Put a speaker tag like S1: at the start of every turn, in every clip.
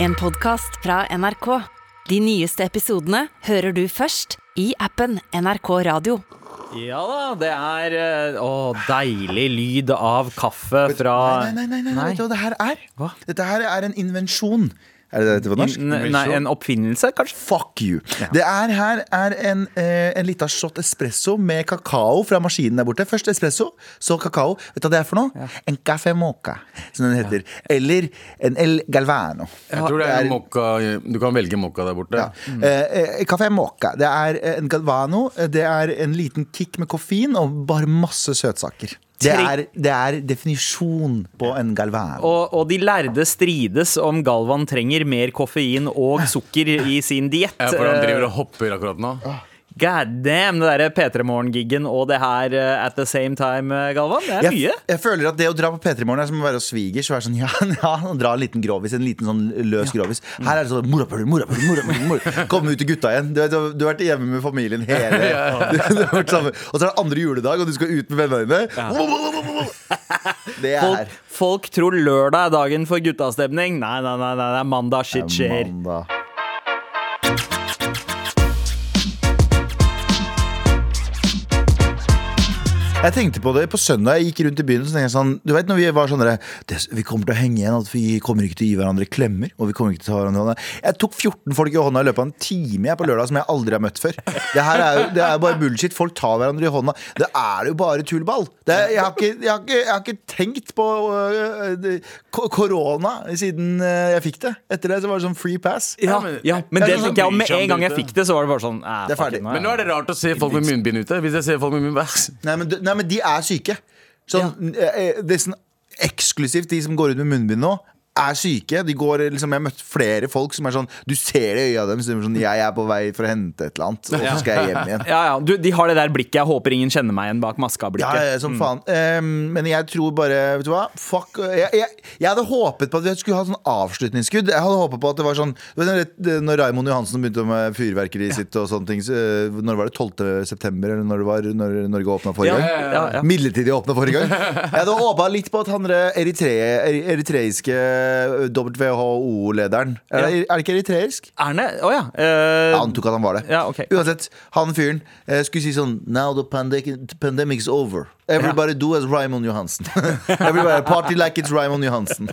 S1: En podcast fra NRK. De nyeste episodene hører du først i appen NRK Radio.
S2: Ja da, det er eh, Å, deilig lyd av kaffe fra
S3: Nei, nei, nei, nei, nei, vet du hva det her er?
S2: Hva?
S3: Dette her er en invensjon. Er det det heter på norsk?
S2: N- nei, en oppfinnelse, kanskje?
S3: Fuck you. Det er her er en, eh, en lita shot espresso med kakao fra maskinen der borte. Først espresso, så kakao. Vet du hva det er for noe? En caffè moca, som den heter. Eller en el galvano.
S4: Jeg tror det
S3: det
S4: er
S3: er-
S4: mokka Du kan velge mokka der borte.
S3: Ja.
S2: Mm.
S3: Eh, eh, Caffè moca. Det er eh, en galvano. Eh, Det er en liten kick med koffein og bare masse søtsaker. Det er, det er definisjon på en galvano.
S2: Og, og de lærde strides om Galvan trenger mer koffein og sukker i sin diett.
S4: Ja, for han driver
S2: Eh,
S4: og hopper akkurat nå.
S3: Ah.
S2: God damn, det derre P3 Morgen-giggen og det her eh, at the same time, eh, Galvan. Det er
S3: jeg,
S2: mye.
S3: jeg føler at det å dra på P3 Morgen er som å være hos svigers. og være Sånn, ja, ja, og dra en liten grovis. En liten sånn løs grovis. Her er det sånn morapuler, morapuler, morapuler. Mora. Komme ut til gutta igjen. Du, vet, du, har vært hjemme med familien hele du, du har vært sammen. Og så er det andre juledag, og du skal ut med vennene dine. Det
S2: Folk,
S3: er
S2: folk tror lørdag er dagen for guttastemning. Nei, nei, nei, nei, det er mandag shit skjer.
S3: mandag. Jeg tenkte på det på søndag. Jeg gikk rundt i byen så tenkte jeg sånn, du vet når vi var sånn der, det, Vi kommer til å henge igjen, at vi kommer ikke til å gi hverandre klemmer. Og vi kommer ikke til å ta hverandre i hånda Jeg tok 14 folk i hånda i løpet av en time jeg på lørdag som jeg aldri har møtt før. Det her er jo det er jo bare bullshit. Folk tar hverandre i hånda. Det er jo bare tullball. Det, er- jeg, har ikke, jeg, har ikke, jeg har ikke tenkt på øh, det- ko- korona siden øh, jeg fikk det. Etter det så var det sånn free pass.
S2: Ja,
S4: Ja, men-
S2: ja, men
S4: Det er
S2: det
S4: sånn
S2: tenker jeg, og med
S4: bryr seg om
S2: en gang jeg
S4: dette.
S2: fikk det, så var det bare sånn eh,
S3: Det er
S2: fuck it,
S3: ferdig.
S2: nå
S4: Men nå er det rart å se folk med munnbind ute. Hvis jeg ser folk med munnbind
S3: Nei, men, de- nei, men de er syke. Sånn, eh, eh, det er sånn eksklusivt de som går ut med munnbind nå. Er syke. De går, eh, liksom, jeg har møtt flere folk som er sånn Du ser det i øya deres. Sånn, jeg er på vei for å hente et eller annet, og så skal jeg hjem igjen.
S2: Ja, ja, du, De har det der blikket 'jeg håper ingen kjenner meg igjen bak
S3: Ja,
S2: maska'-blikket.
S3: ja, som faen. Eh, men jeg tror bare Vet du hva? Fuck. Jeg, jeg, jeg hadde håpet på at vi skulle ha sånn avslutningsskudd. Jeg hadde håpet på at det var sånn du vet, når- Når Raimond Johansen begynte med fyrverkeriet sitt og sånne ting, så, eh, når var det? 12. september, eller når det var når Norge åpna forrige gang?
S2: ja, ja.
S3: Midlertidig åpna forrige gang. Jeg hadde håpa litt på at han der eritre, eri- eritreiske eh, WHO-lederen er, det- er det ikke eritreisk?
S2: Erne? Å ja. eh,
S3: Jeg antok at han var det.
S2: Ja, ok.
S3: Uansett, han fyren eh, skulle si sånn Now the pandemic, pandemic's over. Everybody do as Raymond Johansen. Everybody party like it's Raymond Johansen.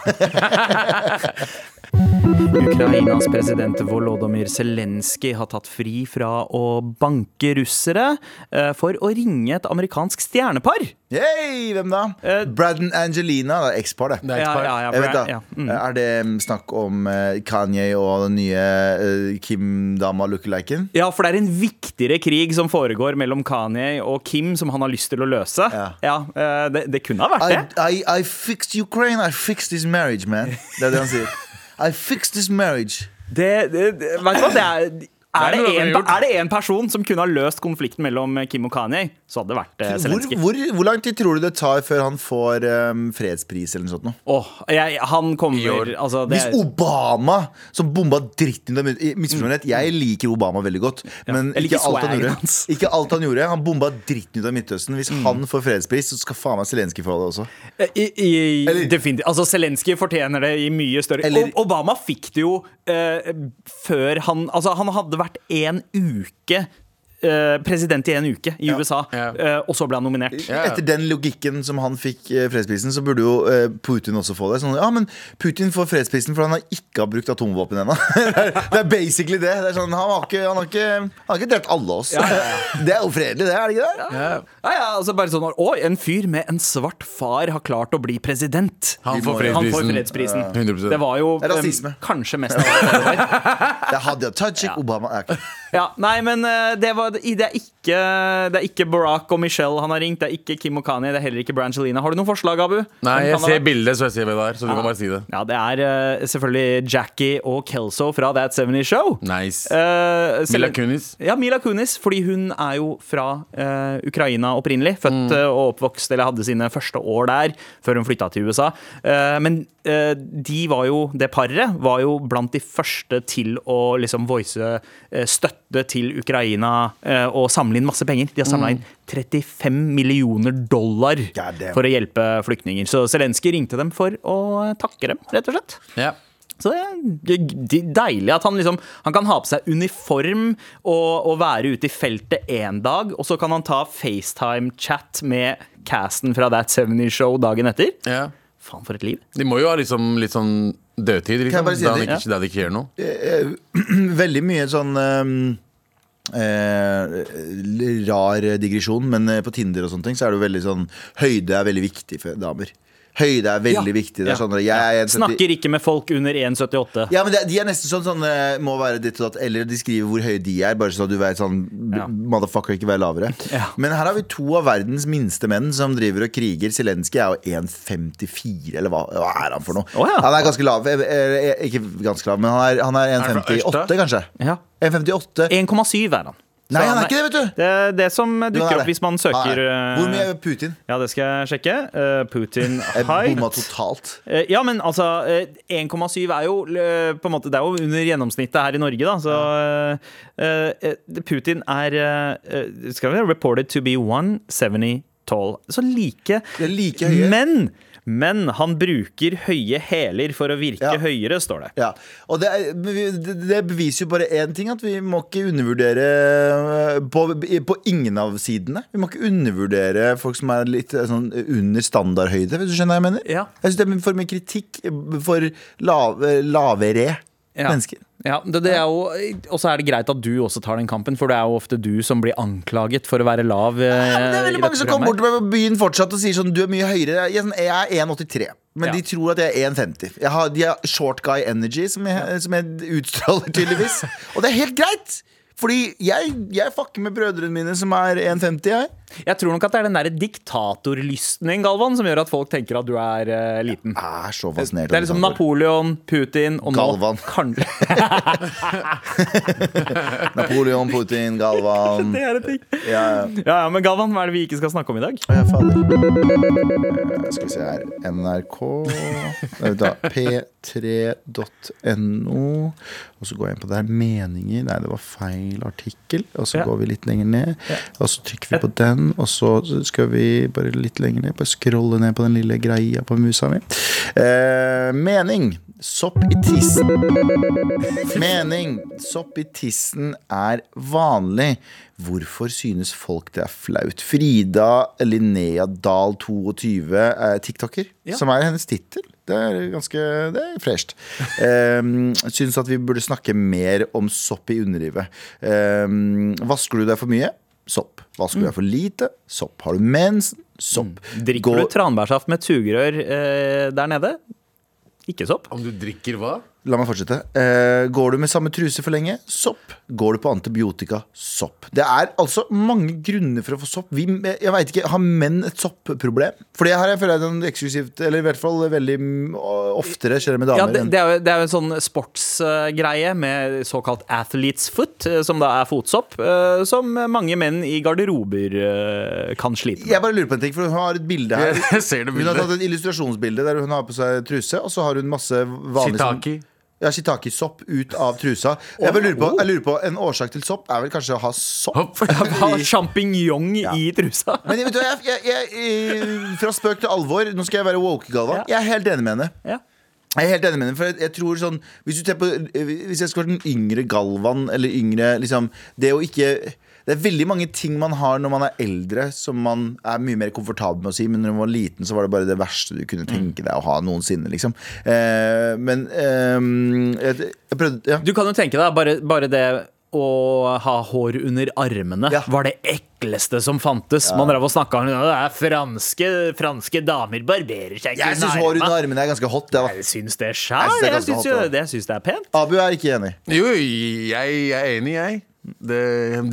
S2: Ukrainas president Volodymyr Zelenskyj har tatt fri fra å banke russere eh, for å ringe et amerikansk stjernepar.
S3: Yay, hvem da?
S2: Eh,
S3: Braden Angelina. Det er ekspar, det.
S4: er et par.
S2: ja,
S3: Jeg vet da,
S2: ja, mm.
S3: Er det mm, snakk om eh, Kanye og den nye eh, Kim-dama lookaliken?
S2: ja, for det er en viktigere krig som foregår mellom Kanye og Kim, som han har lyst til å løse.
S3: Ja.
S2: eh, det, det kunne ha vært det.
S3: I, I, I fixed Ukraine, I fixed this marriage, man. Det er det han sier. I fixed this marriage.
S2: det, det, det vet du hva, det er... Er det,
S4: Det er noe
S2: en,
S4: vi har
S2: pe-
S4: gjort.
S2: er det en person som kunne ha løst konflikten mellom Kim og Kanye, så hadde det vært eh,
S3: Hvor,
S2: Zelenskyj.
S3: hvor, hvor lang tid tror du det tar før han får um, fredspris eller noe sånt? nå?
S2: Åh, jeg, han
S4: I
S2: kommer
S4: år.
S2: altså, det,
S3: Hvis Obama, som bomba dritten ut av min- i- misforstå meg rett, Jeg liker Obama veldig godt, men
S2: Mm. jeg liker
S3: ikke, alt han
S2: swagen
S3: gjorde,
S2: hans. Mm.
S3: ikke alt han gjorde. Han bomba dritten ut av Midtøsten. Hvis han får fredspris, så skal faen meg Zelenskyj få det også.
S2: Eh, I, i,
S3: Eller-
S2: definitivt. Altså, Zelenskyj fortjener det i mye større
S3: Eller-
S2: Ob- Obama fikk det jo eh, før han Altså, han hadde vært en uke eh, president i en uke i USA,
S4: Ja.
S2: eh, og så ble han nominert.
S4: Ja, ja.
S3: Etter den logikken som han fikk eh, fredsprisen, så burde jo eh, Putin også få det. Sånn, ja, men Putin får fredsprisen for han har ikke har brukt atomvåpen ennå. det er- det er basically det. det er sånn, han, har ikke, han, har ikke, han har ikke drept alle oss. det er jo fredelig, det, er det ikke det?
S2: Ja, ja, altså bare sånn Å, en fyr med en svart far har klart å bli president.
S4: Han får
S2: Han får
S4: fredsprisen.
S2: fredsprisen.
S4: 100%.
S2: Det var jo
S3: Det er
S2: eh,
S3: rasisme.
S2: kanskje mest av alt det var.
S3: Det er Hadia Tajik, Obama ja, ok.
S2: Ja, nei, men eh, det, var, det, er ikke, det er ikke Barack og Michelle han har ringt. Det er ikke Kim og Kanye. Det er heller ikke Brangelina. Har du noen forslag, Abu?
S4: Nei,
S2: Hvem kan
S4: jeg
S2: det
S4: ser
S2: være? Ah.
S4: bildet, så jeg ser hva det er. Så du kan bare si det.
S2: Ja, det er eh, selvfølgelig Jackie og Kelso fra That 70 Show.
S4: Nice.
S2: Eh, selv-
S4: Mila Kunis.
S2: Ja, Mila Kunis, fordi hun er jo fra eh, Ukraina opprinnelig.
S4: Mm.
S2: Født eh, og oppvokst, eller hadde sine første år der, før hun flytta til USA. Eh, men eh, de var jo, det paret var jo blant de første til å liksom voice eh, støtte til Ukraina eh, og samle inn masse penger. De har
S4: Mm.
S2: samla inn 35 millioner dollar
S3: God damn.
S2: for å hjelpe flyktninger. Så Zelenskyj ringte dem for å takke dem, rett og slett.
S4: Ja.
S2: Så det er g- deilig at han liksom Han kan ha på seg uniform og, og være ute i feltet én dag, og så kan han ta FaceTime-chat med casten fra That 70 Show dagen etter.
S4: Ja.
S2: Faen, for et liv.
S4: De må jo ha liksom, litt sånn dødtid,
S3: Kan jeg
S4: liksom.
S3: bare si
S4: da
S3: det?
S4: han ikke, da de ikke gjør noe.
S3: Veldig mye sånn eh, eh, rar digresjon, men eh, på Tinder og sånne ting Så er det jo veldig sånn Høyde er veldig viktig for damer. Høyde er veldig
S2: Ja.
S3: viktig. Det
S2: Ja.
S3: er sånn, jeg er 1,70
S2: Snakker ikke med folk under 1,78.
S3: Ja, men det, De er nesten sånn, sånn eh, må være ditt og datt, eller de skriver hvor høye de er, bare så du vet sånn b-
S2: Ja.
S3: Motherfucker, ikke vær lavere.
S2: Ja.
S3: Men her har vi to av verdens minste menn som driver og kriger. Zelenskyj er jo 1,54, eller hva, hva er han for noe?
S2: Å, ja.
S3: Han er ganske lav. eh, eh, Ikke ganske lav, men han er, han er
S4: han fra
S3: 1,58, kanskje.
S2: Ja.
S3: 1,58
S2: 1,7 er han.
S3: Nei, han er ikke det, vet du!
S2: Det er det som
S3: Men han
S2: dukker
S3: er
S2: opp
S3: det.
S2: hvis man
S3: Han
S2: søker
S3: er- Hvor mye
S2: eh,
S3: er Putin?
S2: Ja, det skal jeg sjekke. Eh, Putin
S3: Jeg bomma
S2: height.
S3: totalt.
S2: Eh, Ja, men altså, eh, 1,7 er jo eh, på en måte, Det er jo under gjennomsnittet her i Norge, da. Så eh, eh, Putin er eh, eh, Skal vi reported to be 170 tall. Så like.
S3: er like høye.
S2: Men, men han bruker høye hæler for å virke
S3: Ja.
S2: høyere, står det.
S3: Ja, og det, er- det det beviser jo bare én ting, at vi må ikke undervurdere øh, på, på ingen av sidene. Vi må ikke undervurdere folk som er litt øh, sånn under standardhøyde, hvis du skjønner hva jeg mener?
S2: Ja.
S3: Jeg syns det er for mye kritikk for lav, lavere
S2: Ja.
S3: mennesker.
S2: Ja, det, det er jo, eh, og så er det greit at du også tar den kampen, for det er jo ofte du som blir anklaget for å være lav. eh,
S3: Ja, men det er
S2: i
S3: veldig
S2: dette
S3: mange som kommer
S2: programmet.
S3: bort til meg på byen fortsatt og sier sånn Du er mye høyere. Jeg er sånn, jeg er 1,83. Men
S2: Ja.
S3: de tror at jeg er 1,50. Jeg har, de har short guy energy, som jeg, som jeg utstråler tydeligvis. og det er helt greit! Fordi jeg, jeg fucker med brødrene mine som er 1,50, jeg.
S2: Jeg tror nok at det er den der diktatorlysten din, Galvan, som gjør at folk tenker at du er eh, liten.
S3: Jeg er så fascinert.
S2: Det er liksom Napoleon, Putin og nå
S3: Galvan.
S2: Kan...
S3: Napoleon, Putin, Galvan.
S2: Det er en ting.
S3: Ja,
S2: Ja, ja, men Galvan, hva er det vi ikke skal snakke om i dag?
S3: ja, fader. Eh, Skal vi se her NRK Nei, vent da. P3.no. Og så går jeg inn på der. Meninger. Nei, det var feil artikkel. Og så
S2: Ja.
S3: går vi litt lenger ned. Og så trykker vi på den, og så skal vi bare litt lenger ned. Bare scrolle ned på den lille greia på musa mi. Eh, mening. Sopp i tissen. Mening. Sopp i tissen er vanlig. Hvorfor synes folk det er flaut? Frida Linnea Dahl, 22, er tiktoker, som er hennes tittel. Det er ganske det er fresht. Um, synes at vi burde snakke mer om sopp i underlivet. Um, vasker du deg for mye? Sopp. Vasker du deg for lite? Sopp. Har du mensen? Sopp.
S2: Mm. Drikker
S3: Gå-
S2: du tranbærsaft med sugerør eh, der nede? Ikke sopp?
S4: Om du drikker hva?
S3: La meg fortsette. Eh, går du med samme truse for lenge? Sopp. Går du på antibiotika? Sopp. Det er altså mange grunner for å få sopp. Vi, jeg vet ikke, Har menn et soppproblem? For det her jeg føler jeg er en eksklusivt, eller i hvert fall veldig mm, oftere skjer det med
S2: Ja,
S3: damer.
S2: det,
S3: enn-
S2: det, er jo, det er jo en sånn sportsgreie med såkalt athlete's foot, eh, som da er fotsopp, eh, som mange menn i garderober eh, kan slite med.
S3: Jeg bare lurer på en ting, for hun har et bilde her.
S4: Jeg ser det
S3: Hun har
S4: bildet.
S3: tatt et illustrasjonsbilde der hun har på seg truse, og så har hun masse vanlig sånn-
S4: Shitaki.
S3: Ja, Shitaki-sopp ut av trusa. Jeg bare lurer på, jeg lurer på, En årsak til sopp er vel kanskje å ha sopp?
S4: Hopp.
S2: Ha champignon i trusa.
S3: Men vet du, hva, jeg, jeg, jeg, eh, fra spøk til alvor, nå skal jeg være woke, Galvan.
S2: Ja.
S3: Jeg er helt enig med henne.
S2: Ja.
S3: Jeg er helt enig med henne, for jeg, jeg tror sånn Hvis, du ser på, eh, hvis jeg skulle vært den yngre Galvan, eller yngre liksom, Det å ikke det er veldig mange ting man har når man er eldre som man er mye mer komfortabel med å si, men når man var liten, så var det bare det verste du
S2: Mm.
S3: kunne tenke deg å ha noensinne, liksom. Eh, men eh, jeg, jeg prøvde ja.
S2: Du kan jo tenke deg bare, bare det å ha hår under armene
S3: Ja.
S2: var det ekleste som fantes. Man drev og snakka om det er franske, franske damer barberer seg
S3: Jeg syns hår under armene er ganske hot. Det, da.
S2: Jeg syns det
S3: Jeg
S2: sjæl.
S3: synes det er
S2: Jeg
S3: ganske
S2: syns jo-
S3: hot, da.
S2: det- jeg syns det er pent.
S3: Abu er ikke enig.
S4: Jo, jeg, jeg er enig, jeg. Det,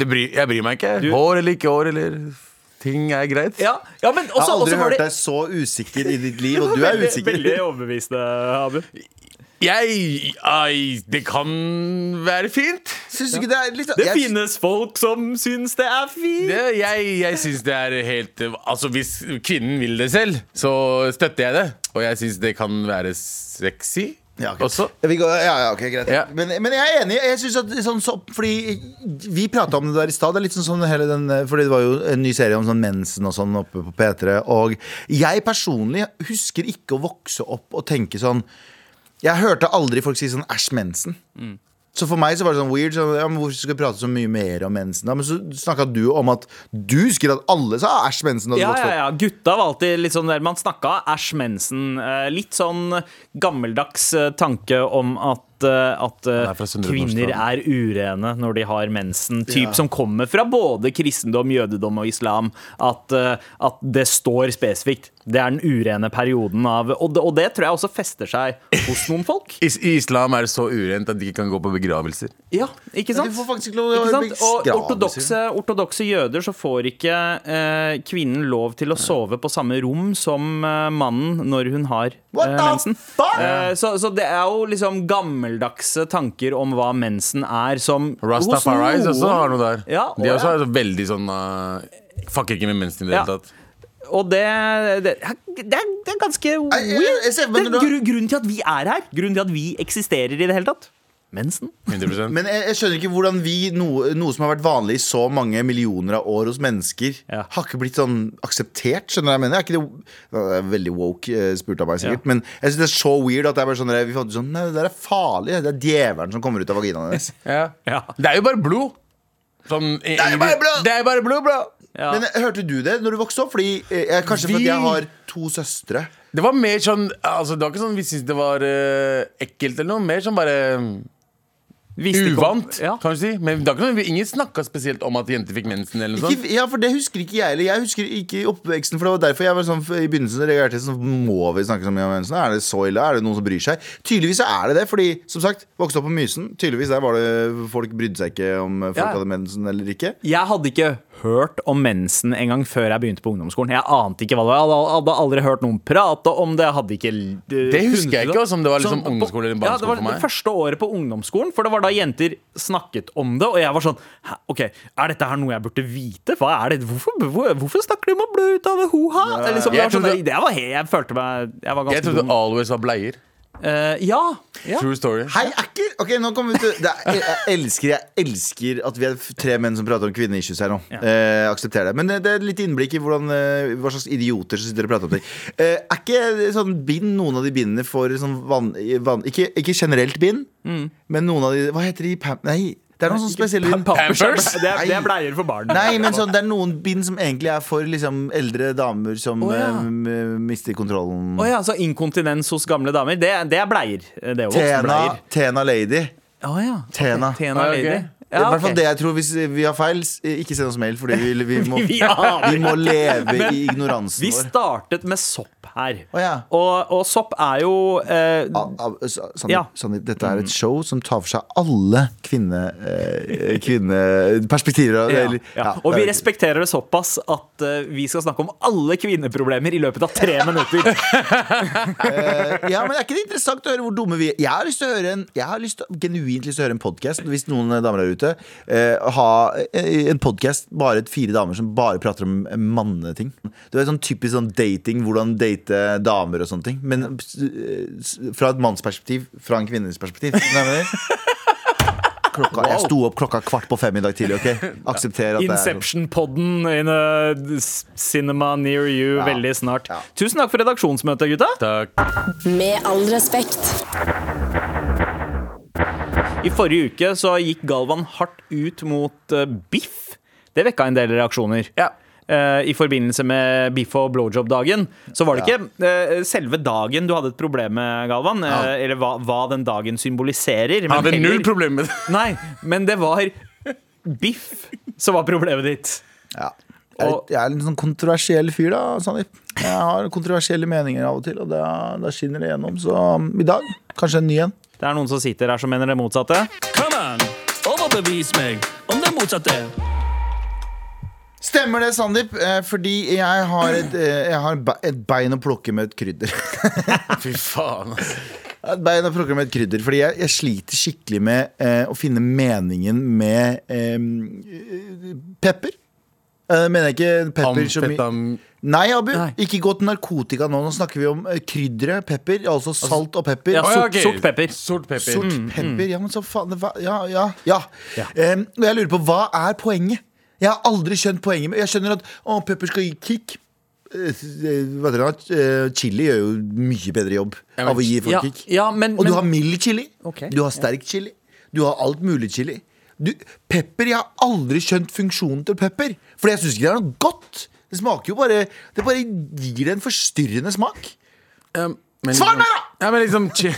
S4: det bryr, jeg bryr meg ikke. Hår eller ikke hår eller Ting er greit.
S2: Ja, ja men
S3: Jeg har
S2: også,
S3: aldri
S2: også var
S3: hørt
S2: det
S3: deg så usikker i ditt liv, og du er
S2: veldig,
S3: usikker.
S2: veldig overbevisende, Abu.
S4: Jeg ai, Det kan være fint.
S3: Syns du ikke det er litt
S2: Det
S3: jeg-
S2: finnes folk som syns det er fint.
S4: Det, jeg jeg syns det er helt Altså, hvis kvinnen vil det selv, så støtter jeg det. Og jeg syns det kan være sexy
S3: Ja, ok.
S4: også.
S3: Vi går, ja, ja, ok, greit
S4: Ja.
S3: men, men jeg er enig. Jeg synes at sånn, så, Fordi Vi prata om det der i stad. Det er litt sånn, sånn hele den, Fordi det var jo en ny serie om sånn mensen og sånn oppe på P3. Og jeg personlig husker ikke å vokse opp og tenke sånn Jeg hørte aldri folk si sånn æsj, mensen.
S2: Mm.
S3: Så for meg så var det sånn weird. Sånn, ja, men hvorfor skal vi prate så mye mer om mensen? Da? Men så snakka du om at du husker at alle sa æsj, mensen. Da du
S2: Ja,
S3: vokste
S2: ja,
S3: opp.
S2: ja. Gutta var alltid litt sånn der man snakka æsj mensen. eh, Litt sånn gammeldags eh, tanke om at eh, at eh,
S4: Han er fra Søndre
S2: kvinner er urene når de har mensen. Typ som kommer fra både kristendom, jødedom og islam. At, eh, at det står spesifikt. Det er den urene perioden av Og det, og det tror jeg også fester seg hos noen folk.
S4: Is I islam er det så urent at de ikke kan gå på begravelser.
S2: Ja, ikke sant?
S3: Men de får faktisk ikke lov å
S2: Ikke sant?
S3: bli
S2: Og
S3: skravet,
S2: ortodokse, ortodokse jøder så får ikke eh, kvinnen lov til å sove på samme rom som eh, mannen når hun har eh,
S3: What the
S2: mensen.
S3: fuck?
S2: Eh, så, så det er jo liksom gammeldagse tanker om hva mensen er, som
S4: Rastafari
S2: hos
S4: også
S2: noen-
S4: har noe der.
S2: Ja, og,
S4: de er også er veldig sånn uh, Fucker ikke med mensen i det
S2: Ja.
S4: hele tatt.
S2: og det, det, det, er, det er ganske
S3: Nei, jeg-
S2: weird.
S3: jeg ser- men
S2: det er
S3: når
S2: gru, grunnen til at vi er her. Grunnen til at vi eksisterer i det hele tatt. Mensen.
S4: 100%
S3: Men jeg, jeg skjønner ikke hvordan vi, noe, noe som har vært vanlig i så mange millioner av år hos mennesker,
S2: Ja.
S3: har ikke blitt sånn akseptert. Skjønner du hva jeg mener? Er ikke det, det er veldig woke eh, spurt av meg, sikkert.
S2: Ja.
S3: Men jeg synes det er så weird at det er bare sånn Vi fant ut sånn Nei, det der er farlig. Det er djevelen som kommer ut av vaginaen hennes.
S4: Ja.
S2: Ja.
S4: Det er jo bare blod. Sånn, det
S3: er jo bare blod!
S4: Det er jo bare blod, bro!
S2: Ja.
S3: Men eh, hørte du det når du vokste opp? Fordi eh, jeg, Kanskje
S4: Vi-
S3: fordi jeg har to søstre.
S4: Det var mer sånn altså, Det var ikke sånn vi syntes det var eh, ekkelt eller noe. Mer sånn bare
S2: Hvis det kom-
S4: uvant,
S2: Ja.
S4: kan du si. Men det var ikke noe, ingen snakka spesielt om at jenter fikk mensen eller noe sånt.
S3: Ikke, ja, for Det husker ikke jeg heller. Jeg husker ikke i oppveksten. For det var derfor jeg var sånn i begynnelsen reagerte jeg sånn Må vi snakke så mye om mensen? Er det så ille? Er det noen som bryr seg? Tydeligvis så er det det. Fordi, som sagt, vokste opp på Mysen. Tydeligvis der var det folk brydde seg ikke om folk
S2: Ja.
S3: hadde mensen eller ikke.
S2: Jeg hadde ikke hørt om mensen engang før jeg begynte på ungdomsskolen. Jeg ante ikke hva det var. Jeg hadde aldri hørt noen prate om det. Jeg hadde ikke
S4: Det husker jeg ikke, altså, om det var liksom ungdomsskole eller
S2: Sånn, ja, det var
S4: barneskole for meg.
S2: Det første året på ungdomsskolen, for det var da jenter snakket om det, og jeg var sånn Hæ, OK, er dette her noe jeg burde vite? Hva er det? Hvorfor, hvor, hvorfor snakker de om å blø ut av ho-ha? Eller Liksom, det
S4: Jeg
S2: var sånn,
S4: trodde-
S2: det var helt, jeg følte meg Jeg var
S4: Jeg
S2: ganske
S4: trodde
S2: dum.
S4: Always var bleier.
S2: Eh, ja. ja.
S4: True story.
S3: Hei, er ikke Ok, nå kommer vi til det er, jeg, jeg elsker Jeg elsker at vi er f- tre menn som prater om kvinneissues her nå. Eh, aksepter det. Men det, det er litt innblikk i hvordan, eh, hva slags idioter som sitter og prater om ting. Eh, er ikke sånn bind noen av de bindene for sånn vann... vann ikke, ikke generelt bind,
S2: Mm.
S3: men noen av de Hva heter de? Pam... Nei, det er noen sånne spesielle bind.
S4: Pampers?
S2: Det er, det er bleier for barn.
S3: Nei, men sånn, det er noen bind som egentlig er for liksom, eldre damer som
S2: Å, ja.
S3: eh, m- mister kontrollen.
S2: Å ja, så inkontinens hos gamle damer, det, det er bleier. eh, Det er
S3: Tena,
S2: voksenbleier.
S3: Tena Lady.
S2: Å ja.
S3: Tena.
S2: Tena
S4: Ah, ok.
S2: Lady.
S3: Det er I hvert fall
S2: ok.
S3: det jeg tror. Hvis vi har feil, s- ikke send oss mail, fordi vi, vi, må,
S2: Vi aner
S3: vi må leve i ignoransen
S2: Vi
S3: vår.
S2: startet med sopp her.
S3: Å ja. Ah,
S2: og, og sopp er jo eh,
S3: Al- al- s- Sandeep,
S2: Ja. Mm.
S3: Sandeep, dette er et show som tar for seg alle kvinne, eh, kvinneperspektiver.
S2: ja,
S3: eller-
S2: ja.
S3: ja,
S2: Og
S3: det
S2: vi
S3: er-
S2: respekterer det såpass at eh, vi skal snakke om alle kvinneproblemer i løpet av tre minutter.
S3: Eh, ja, men Er ikke det interessant å høre hvor dumme vi er? Jeg har lyst til å høre en Jeg har lyst til, genuint lyst til å høre en podkast, hvis noen damer der ute. eh, ha eh, en podkast bare et fire damer som bare prater om eh, manneting. Du vet sånn Typisk sånn dating, hvordan date damer og sånne ting. Men eh, s- fra et mannsperspektiv, fra en kvinnes perspektiv. Skjønner du hva jeg mener? Klokka, jeg sto opp klokka kvart på fem i dag tidlig. ok? Aksepter at det er sånn.
S2: Inception-podden in a s- cinema near you
S3: Ja.
S2: veldig snart.
S3: Ja.
S2: Tusen takk for redaksjonsmøtet, gutta.
S4: Takk.
S5: Med all respekt.
S2: I forrige uke så gikk Galvan hardt ut mot eh, biff. Det vekka en del reaksjoner.
S4: Ja.
S2: Eh, I forbindelse med biff og blowjob-dagen. Så var det ikke eh, selve dagen du hadde et problem med, Galvan. eh, Eller hva, hva den dagen symboliserer.
S4: Han hadde
S2: men
S4: null
S2: heller-
S4: problemer med det.
S2: Nei, men det var biff som var problemet ditt.
S3: Ja. Jeg er, litt, jeg er en sånn kontroversiell fyr, da, Sandeep. Jeg har kontroversielle meninger av og til, og da, da skinner det gjennom. Så um, i dag, kanskje en ny en.
S2: Det er noen som sitter her som mener det motsatte.
S6: Kom an, overbevis meg om det motsatte.
S3: Stemmer det, Sandeep? Eh, fordi jeg har, et, eh, jeg har be- et bein å plukke med et krydder.
S4: Fy faen, ass.
S3: Et bein å plukke med et krydder Fordi jeg, jeg sliter skikkelig med eh, å finne meningen med eh, pepper. Eh, mener jeg ikke pepper så mye
S4: Amfetam-
S3: Nei, Abu.
S2: Nei.
S3: Ikke gå til narkotika nå. Nå snakker vi om eh, krydderet pepper. Altså salt og pepper.
S2: Ja,
S4: Å,
S2: sort,
S4: ok.
S2: sort pepper.
S4: Sort pepper.
S3: Sort pepper, ja, men så faen det var- Ja, ja, ja.
S2: Mm, Ja.
S3: Em, og jeg lurer på, hva er poenget? Jeg har aldri skjønt poenget med Jeg skjønner at å, pepper skal gi kick eh, hva heter det, eh, chili gjør jo mye bedre jobb
S4: men-
S3: av å gi folk
S2: Ja,
S3: kick.
S2: ja, men-
S3: og
S2: men-
S3: du har mild chili,
S2: Ok.
S3: du har sterk chili, du har alt mulig chili. Du, pepper, Jeg har aldri skjønt funksjonen til pepper, for jeg syns ikke det er noe godt. Det smaker jo bare Det bare gir det en forstyrrende smak.
S4: Um, men
S3: Svar meg,
S4: da! Ja, men liksom, chi-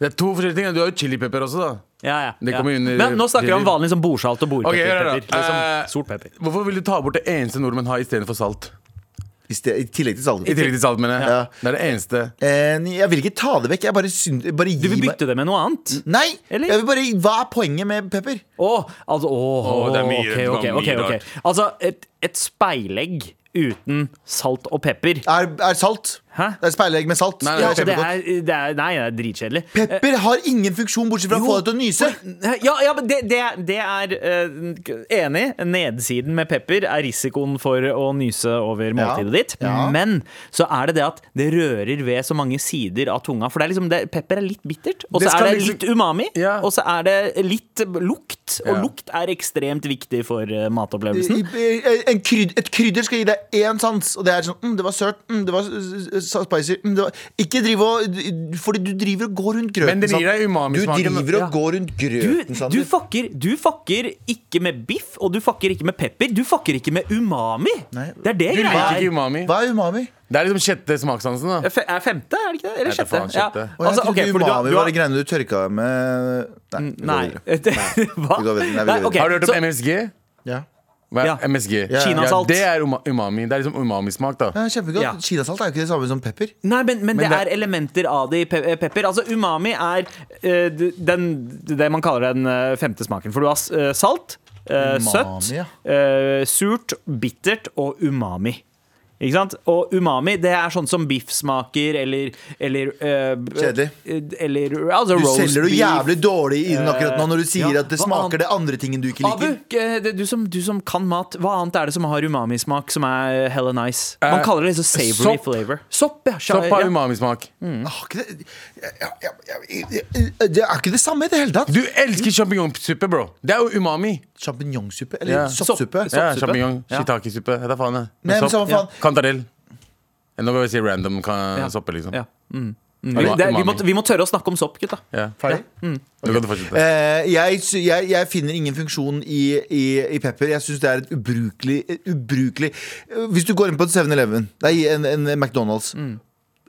S4: det er to forskjellige ting. Du har jo chilipepper også, da.
S2: Ja, ja,
S4: Det
S2: ja.
S4: kommer jo under-
S2: Men nå snakker vi om vanlig sånn bordsalt og bordpepper.
S4: Ok, hør her da.
S2: pepper, liksom,
S4: Eh,
S2: sort pepper.
S4: Hvorfor vil du ta bort det eneste nordmenn har istedenfor salt?
S3: I, sted, i tillegg til
S4: I
S3: salget.
S4: tillegg til salt, mener jeg.
S3: Ja.
S4: Det er det eneste.
S3: Eh, jeg vil ikke ta det vekk. Jeg bare, syns- bare
S2: Du
S3: gi
S2: vil
S3: meg
S2: bytte det med noe annet?
S4: Mm.
S3: Nei!
S2: Eller?
S3: Jeg vil bare, hva er poenget med pepper?
S2: Å, altså, åh,
S4: Åh, det er mye-
S2: ok,
S4: det var
S2: ok, ok,
S4: mye
S2: ok.
S4: rart.
S2: Altså, et, et speilegg uten salt og pepper.
S3: Er, er salt.
S2: Hæ?
S3: Det er speilegg med salt.
S4: Nei, nei,
S3: Det
S2: Ja,
S3: er
S2: Altså, det
S3: kjempegodt.
S2: er, det er, nei, det er dritkjedelig.
S3: Pepper har ingen funksjon bortsett fra
S2: Jo,
S3: å få deg til å nyse.
S2: Ja, ja men det, det, det er eh, Enig. Nedsiden med pepper er risikoen for å nyse over måltidet ditt.
S3: Ja.
S2: Men så er det det at det rører ved så mange sider av tunga. For det er liksom, det, pepper er litt bittert, og
S4: Det
S2: så
S4: skal
S2: er det
S4: liksom-
S2: litt umami,
S4: Ja.
S2: og så er det litt lukt. Og
S4: Ja.
S2: lukt er ekstremt viktig for eh,
S3: I-
S2: matopplevelsen.
S3: i- En kryd, et krydder skal gi deg én sans, og det er sånn mm, Det var sørt. Mm, det var eh, spicy. Mm, det var. Ikke drive og Fordi du driver og går rundt grøten.
S4: Men det gir
S3: sant?
S4: deg umamismaken,
S3: Du driver og
S4: ja.
S3: går rundt
S2: Du,
S3: grøten. sant?
S2: du, fucker, du fucker ikke med biff, og du fucker ikke med pepper. Du fucker ikke med umami.
S3: Nei.
S2: Det er det
S4: Du
S2: greia
S4: liker
S2: er.
S4: ikke umami.
S3: Hva er umami?
S4: Det er liksom sjette smakssansen, da.
S2: Fe- Er femte, er det ikke det? Eller
S4: Jeg vet
S2: sjette?
S4: faen,
S2: Ja.
S4: sjette.
S3: Og jeg
S2: Altså, ok, fordi
S3: trodde
S2: du har-
S3: umami
S2: du har- Mm,
S3: var det greiene du tørka med Nei. vi går
S2: Nei.
S3: videre.
S2: Hva?
S3: Vi går videre. Nei, vi går
S2: Nei,
S3: videre.
S2: ok,
S4: Har du hørt om
S2: så-
S4: MSG?
S3: Ja.
S4: Hva er
S2: Ja.
S4: MSG?
S2: Kinasalt.
S4: Ja, det er uma- umami. Det er liksom umamismak, da.
S3: Ja, kjempegodt.
S2: Ja.
S3: Kinasalt er jo ikke det samme som pepper.
S2: Nei, men, men, det,
S4: det-
S2: er elementer av det i pe eh, pepper. Altså, umami er eh, den, det man kaller den eh, femte smaken. For du har s- eh, salt, eh,
S3: Umami,
S2: søtt,
S3: ja.
S2: eh, surt, bittert og umami. Ikke sant? Og umami det er sånn som biffsmaker eller, eller eh,
S3: Kjedelig.
S2: eh, Eller altså,
S3: Du
S2: roast
S3: selger jo
S2: beef. Eh,
S3: jævlig dårlig inn akkurat nå når du sier
S2: ja.
S3: at det
S2: Hva annet?
S3: smaker det andre tingen du ikke
S2: Abu,
S3: liker.
S2: eh, det- du som, du som kan mat, hva annet er det som har umamismak som er hella nice? Man
S4: Eh,
S2: kaller det liksom savory
S4: sopp.
S2: flavor. Sopp, ja.
S4: Sopp har
S2: ja. Mm.
S4: umamismak.
S3: Har Mm. Ah, ikke det- ja, ja, ja, ja, Det er ikke det samme i det hele tatt.
S4: Du elsker
S2: Mm.
S4: sjampinjongsuppe, bro. Det er jo umami.
S3: Sjampinjongsuppe? Eller
S4: Ja.
S3: soppsuppe?
S2: Sopp.
S4: Ja,
S2: Soppsuppe.
S4: Sjampinjong,
S2: Ja.
S4: shiitake-suppe. Jeg tar faen, jeg.
S3: Nei, men samme faen.
S4: Kantarell. Nå kan vi si random kan,
S2: Ja.
S4: soppe, liksom.
S2: Ja. Mm. Mm.
S4: Umami.
S2: Vi, det, vi, må, vi må tørre å snakke om sopp, gutta.
S4: Ja.
S3: Ferdig?
S2: Mm.
S4: Nå kan du fortsette.
S3: Eh, jeg, sy- jeg, jeg finner ingen funksjon i, i, i pepper. Jeg syns det er et ubrukelig, et ubrukelig Eh, Hvis du går inn på en 7-Eleven, nei, en, en McDonald's
S2: Mm.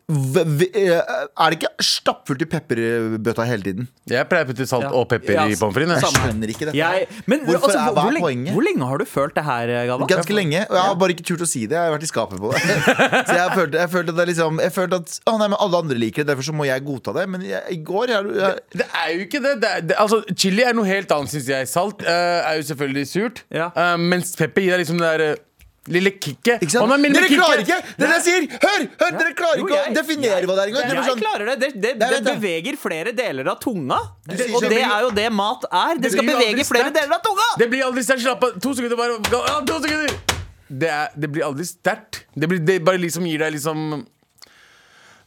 S3: v- v- eh, Er det ikke stappfullt i pepperbøtta hele tiden?
S4: Jeg pleier å putte salt
S2: Ja.
S4: og pepper
S2: Ja,
S4: i pommes frites. jeg.
S3: Jeg skjønner ikke dette.
S2: Jeg, men
S3: Hvorfor
S2: altså,
S3: er-
S2: hvor,
S3: hva er
S2: hvor, lenge,
S3: poenget?
S2: hvor lenge har du følt det her, eh, Galvan?
S3: Ganske lenge. Og jeg har bare ikke turt å si det. Jeg har vært i skapet på det. Så jeg følte, jeg følte at det er liksom Jeg følte at Å nei, men alle andre liker det, derfor så må jeg godta det. Men jeg, i går jeg, jeg,
S4: Det er jo ikke det. det, er, det altså, chili er noe helt annet, syns jeg. Salt eh, er jo selvfølgelig surt.
S2: Ja.
S4: Eh, mens pepper gir deg liksom det der eh, lille kicket.
S3: Ikke sant?
S4: Å, men lille
S3: dere
S4: kicket!
S3: klarer ikke! Det er det jeg sier! Hør! hør Dere klarer
S2: Jo,
S3: ikke
S2: jeg-
S3: å definere hva det er engang. Dere
S2: Jeg
S3: bare sånn,
S2: klarer det. Det, det,
S3: Nei,
S2: det
S3: vent da.
S2: beveger flere deler av tunga.
S3: sier
S2: Og
S3: ikke-
S2: det er jo det mat er. Det skal
S4: blir jo
S2: bevege
S4: aldri
S2: flere
S4: sterkt.
S2: deler av tunga!
S4: Det blir aldri sterkt. Slapp av. To sekunder bare. Ja, to sekunder! Det, er, det blir aldri sterkt. Det, blir- det bare liksom gir deg liksom
S3: sånn-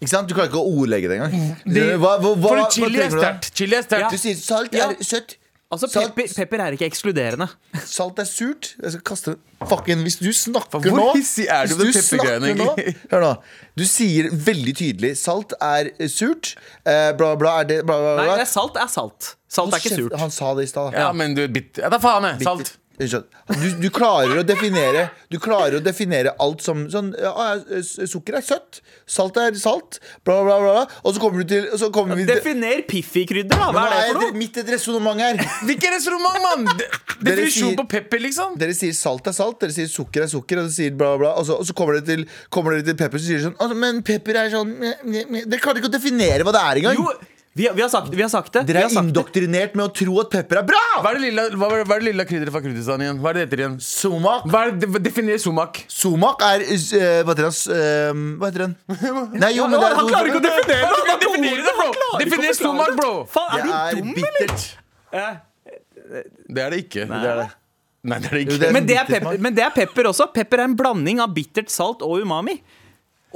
S3: Ikke sant? Du klarer ikke å ordlegge det engang.
S4: det,
S3: Hva, hva, hva,
S4: For
S3: hva
S4: chili
S3: tenker
S4: er
S3: du da?
S4: sterkt. Chili er sterkt.
S3: Du sier salt
S2: Ja.
S3: er søtt.
S2: Altså,
S3: Salt-
S2: pepper, pepper er ikke ekskluderende.
S3: Salt er surt. Jeg skal kaste den. Fucking, hvis du snakker
S4: Hvor
S3: nå
S4: hissig er du
S3: hvis
S4: med
S3: snakker
S4: peppergreiene,
S3: nå-
S4: egentlig?
S3: Hør nå. Du sier veldig tydelig salt er eh, surt. Eh, bla, bla, er det bla, bla,
S2: Nei,
S3: bla.
S2: det er salt er salt. Salt er ikke
S3: Kjeft,
S2: surt.
S3: Han sa det i stad. da.
S4: Ja, men du bitt... Ja, da faen, jeg. Salt.
S3: Unnskyld. Du, du klarer å definere Du klarer å definere alt som sånn ja, ja, s- Sukker er søtt, salt er salt, bla, bla, bla. bla. Og så kommer du til og så kommer vi til
S2: Definer Piffi-krydder, da. Hva
S3: Nå
S2: er det for
S3: jeg-
S2: noe?
S3: Mitt et resonnement her.
S4: Hvilket restaurant, mann? Det-
S3: Dere
S4: Definisjon
S3: sier-
S4: på pepper, liksom.
S3: Dere sier salt er salt, dere sier sukker er sukker, og dere sier bla, bla. bla. Og så, og så kommer dere til, kommer dere til pepper, så sier dere sånn «Altså, Men pepper er sånn meh, meh, meh». Dere klarer ikke å definere hva det er engang.
S2: Jo, vi, har- vi, har sagt, vi har sagt det. Vi
S3: Dere
S2: har
S3: er
S2: sagt det.
S3: indoktrinert med å tro at pepper er
S4: Hva
S3: bra!
S4: er det lilla, hva er, hva er det lilla krydderet fra Kurdistan igjen? Hva er det det heter igjen?
S3: Somak.
S4: Hva er det, definer somak.
S3: Somak er eh, Hva heter den? Eh, hva heter den? Nei, jo, men det er
S2: Han klarer ikke å definere det! Han
S4: Definer
S2: klarer
S4: det, bro!
S2: ikke å
S4: Definer
S2: forklare
S4: somak,
S2: det.
S4: bro!
S2: Faen,
S3: Det
S2: er
S3: er
S2: du dum?
S3: bittert.
S2: Eh,
S4: Det er det ikke. Nei, det er det, Nei, det, er det ikke.
S3: Jo, det er-
S2: Men det, er
S3: bitter
S2: pepper,
S3: smak.
S2: men det er pepper også. Pepper er en blanding av bittert salt og umami.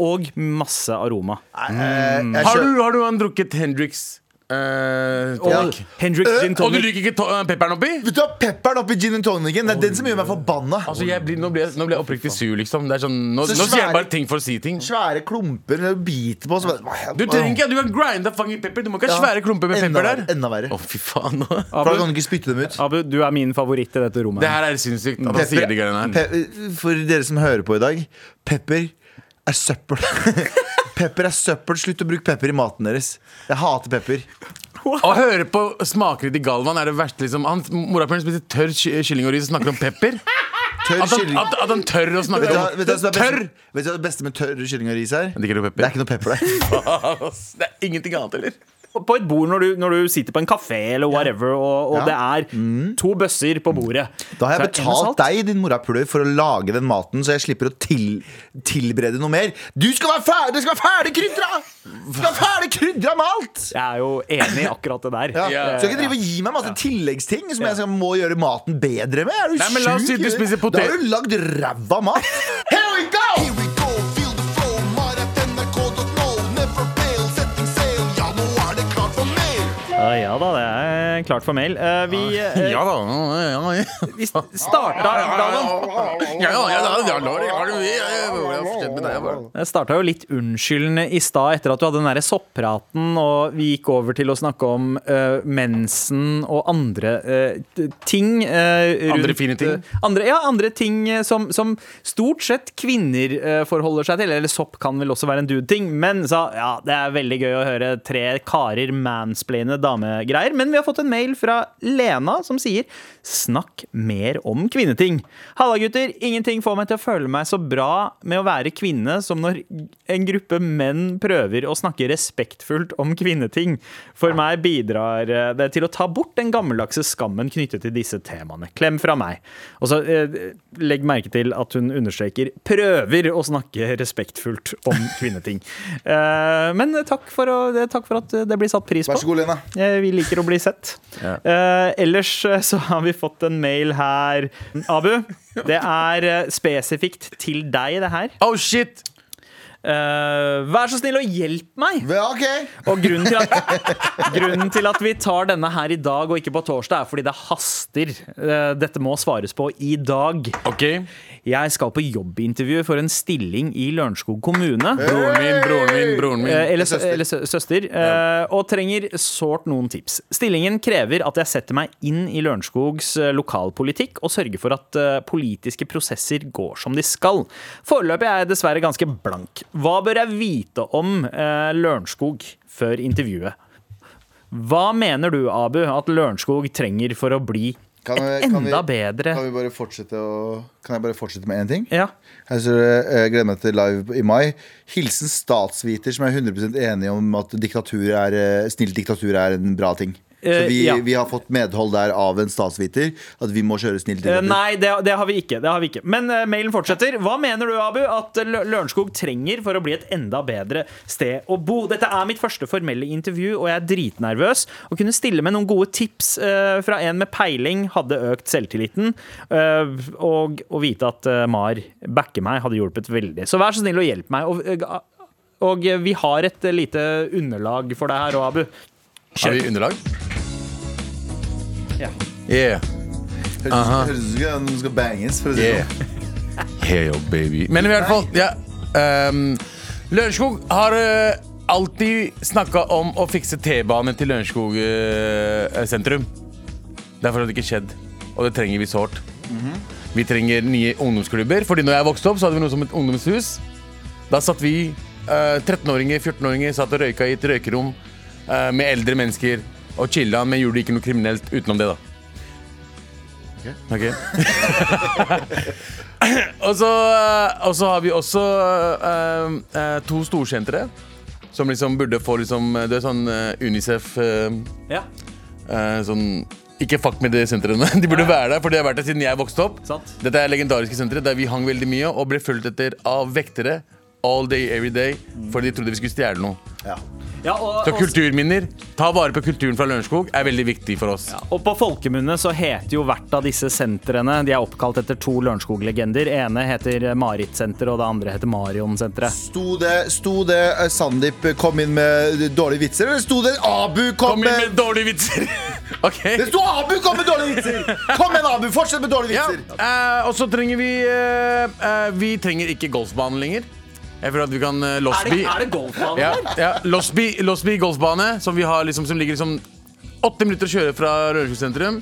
S2: Og masse aroma.
S3: Eh, jeg
S4: har,
S3: skjø-
S2: Mm.
S4: du, har du han drukket Hendrix Eh,
S3: Ja.
S4: tonic.
S2: Hendrix gin
S4: Øh, Og du
S2: tonic.
S4: liker ikke to eh, pepperen oppi?
S3: Vet du hva, pepperen oppi gin and tonicen, det er den som gjør meg forbanna.
S4: Altså, jeg blir, nå, ble jeg, nå ble jeg oppriktig sur, liksom. Det er sånn, nå,
S3: Så
S4: nå
S3: svære-
S4: sier jeg bare ting for å si ting.
S3: Svære klumper når du biter på. Så bare,
S4: Du trenger ikke, du kan grinde fucking pepper. Du må ikke ha
S3: Ja.
S4: svære klumper med
S3: enda,
S4: pepper der.
S3: verre, Enda verre.
S4: Å, fy faen. nå.
S3: For da kan du ikke spytte dem ut.
S2: Abu, du er min favoritt i dette rommet.
S4: Det her er sinnssykt at han sier de greiene her.
S3: Pe- For dere som hører på i dag, pepper er søppel. pepper er søppel. Slutt å bruke pepper i maten deres. Jeg hater pepper.
S4: Å høre på smaker til Galvan er det verste. Liksom. Han, morapuleren spiser tørr ky- kylling og ris og snakker om pepper.
S3: Tørr
S4: At han,
S3: kylling.
S4: at, at han tør å
S3: Vet
S4: snakke
S3: du hva-
S4: om
S3: vet du hva som er best-
S4: tørr!
S3: Vet du hva det beste med tørr kylling og ris er?
S4: Det er ikke noe pepper.
S3: Det er ikke noe pepper der.
S4: Det er ingenting annet, eller?
S2: På et bord når du, når du sitter på en kafé eller whatever, og, og
S3: Ja. Mm.
S2: det er to bøsser på bordet.
S3: Da har jeg
S2: Så er det en med
S3: betalt
S2: salt.
S3: deg, din morapuler, for å lage den maten, så jeg slipper å til, tilberede noe mer. Du skal være ferdig! Det skal være ferdig krydra! Du skal være ferdig krydra med alt!
S2: Jeg er jo enig i akkurat det der.
S3: Ja.
S4: Ja,
S3: Så du kan ikke drive og gi meg masse tilleggsting som jeg skal- må gjøre maten bedre med. Er du
S4: Nei, men la oss
S3: sjuk,
S4: si at du
S3: eller?
S4: spiser potet-
S3: Da har du lagd ræva mat. Here we go!
S7: Here we go, feel the flow, maratnrk.no. Never fail, setting sail. Ja, nå er det klart for mer.
S2: Ja, ja da, det er klart for mail. Eh, vi,
S3: Ah.
S2: eh,
S4: Ja da. Ja, ja, ja.
S2: vi starta Galvan,
S4: Ja, ja, ja, ja, ja, Lord, jeg har det mye. Jeg- jeg- jeg- jeg fortsetter med deg, jeg bare.
S2: jeg starta jo litt unnskyldende i stad etter at du hadde den derre soppraten, og vi gikk over til å snakke om eh, mensen og andre eh, t- ting. eh, rundt,
S4: Andre fine ting.
S2: eh, andre, ja, andre ting eh, som, som stort sett kvinner eh, forholder seg til. Eller sopp kan vel også være en dude-ting. Men sa ja, det er veldig gøy å høre tre karer mansplaine damegreier. Men vi har fått en mail fra Lena som sier snakk mer om kvinneting. Halla, gutter. Ingenting får meg til å føle meg så bra med å være kvinne som når en gruppe menn prøver å snakke respektfullt om kvinneting. For meg bidrar eh, det til å ta bort den gammeldagse skammen knyttet til disse temaene. Klem fra meg. Og så eh, legg merke til at hun understreker 'prøver å snakke respektfullt om kvinneting'. Eh, men takk for, å, eh, takk for at det blir satt pris på.
S3: Vær så god, Lena.
S2: Eh, Vi liker å bli sett. Eh, ellers eh, så har vi fått en mail her. Abu, det er eh, spesifikt til deg, det her.
S4: Oh shit!
S2: Eh, vær så snill og hjelp meg!
S3: Ja, ok.
S2: Og grunnen til, at, grunnen til at vi tar denne her i dag og ikke på torsdag, er fordi det haster. Eh, Dette må svares på i dag.
S4: Ok.
S2: Jeg skal på jobbintervju for en stilling i Lørenskog kommune.
S4: Broren min, broren min, broren min.
S2: Eh, Eller, sø-
S3: Søster.
S2: eller sø- søster. eh, Og trenger sårt noen tips. Stillingen krever at jeg setter meg inn i Lørenskogs eh, lokalpolitikk og sørger for at eh, politiske prosesser går som de skal. Foreløpig er jeg dessverre ganske blank. Hva bør jeg vite om eh, Lørenskog før intervjuet? Hva mener du, Abu, at Lørenskog trenger for å bli
S3: Kan vi-
S2: et
S3: kan vi-
S2: enda bedre
S3: Kan, vi bare fortsette å, kan jeg bare fortsette med én ting?
S2: Ja.
S3: Her står det eh, 'Gleder meg til live i mai'. Hilsen statsviter som er 100 enig om at diktatur er, eh, snill diktatur er en bra ting. Så
S2: Eh,
S3: vi,
S2: ja.
S3: vi har fått medhold der av en statsviter at vi må kjøre snill
S2: Eh,
S3: diktatur.
S2: Nei, det, det, har vi ikke, det har vi ikke. Men eh, mailen fortsetter. Hva mener du, Abu, at eh, Lø- Lørenskog trenger for å bli et enda bedre sted å bo? Dette er mitt første formelle intervju, og jeg er dritnervøs. Å kunne stille med noen gode tips eh, fra en med peiling hadde økt selvtilliten. eh, og å vite at eh, Mar backer meg, hadde hjulpet veldig. Så vær så snill og hjelp meg. Og, eh, og eh, vi har et eh, lite underlag for deg her òg, Abu.
S4: Har vi underlag?
S2: Ja.
S4: Yeah.
S3: Høres høres ut som den skal banges. For å si det
S4: Yeah.
S3: sånn.
S4: Heyo, baby. Men i hvert fall, ja. Um, Lørenskog har eh, alltid snakka om å fikse T-bane til Lørenskog eh, sentrum. Derfor har det ikke skjedd, og det trenger vi sårt.
S3: Mhm.
S4: Vi trenger nye ungdomsklubber, Fordi når jeg vokste opp, så hadde vi noe som et ungdomshus. Da satt vi eh, 13-åringer, 14-åringer, satt og røyka i et røykerom eh, med eldre mennesker og chilla, men gjorde ikke noe kriminelt utenom det, da. Ok og, så, og så har vi også eh, eh, to storsentre som liksom burde få liksom Det er sånn eh, Unicef eh,
S2: Ja,
S4: eh, Sånn ikke fuck med de sentrene. De burde være der, for de har vært der siden jeg vokste opp.
S2: Sant.
S4: Dette er legendariske sentre der vi hang veldig mye og ble fulgt etter av vektere all day, every day, fordi de trodde vi skulle stjele noe.
S3: Ja.
S2: Ja, Mm. og,
S4: Så
S2: og-
S4: kulturminner, ta vare på kulturen fra Lørenskog, er veldig viktig for oss.
S2: Og på folkemunne så heter jo hvert av disse sentrene De er oppkalt etter to Lørenskog-legender. Ene heter Marit-senter, og det andre heter Marion-senteret.
S3: Sto det, sto det eh, Sandeep kom inn med dårlige vitser, eller sto det Abu kom,
S4: Kom inn
S3: med
S4: med dårlige vitser! OK.
S3: Det sto Abu kom med dårlige vitser! Kom igjen, Abu! Fortsett med dårlige
S4: Ja,
S3: vitser!
S4: eh, og så trenger vi eh, eh, Vi trenger ikke golfbanen lenger. Jeg føler at vi kan uh, Losby.
S2: golfbane
S4: Ja, ja. Losby, Losby golfbane, som, vi har, liksom, som ligger liksom åtte minutter å kjøre fra Rødskog sentrum.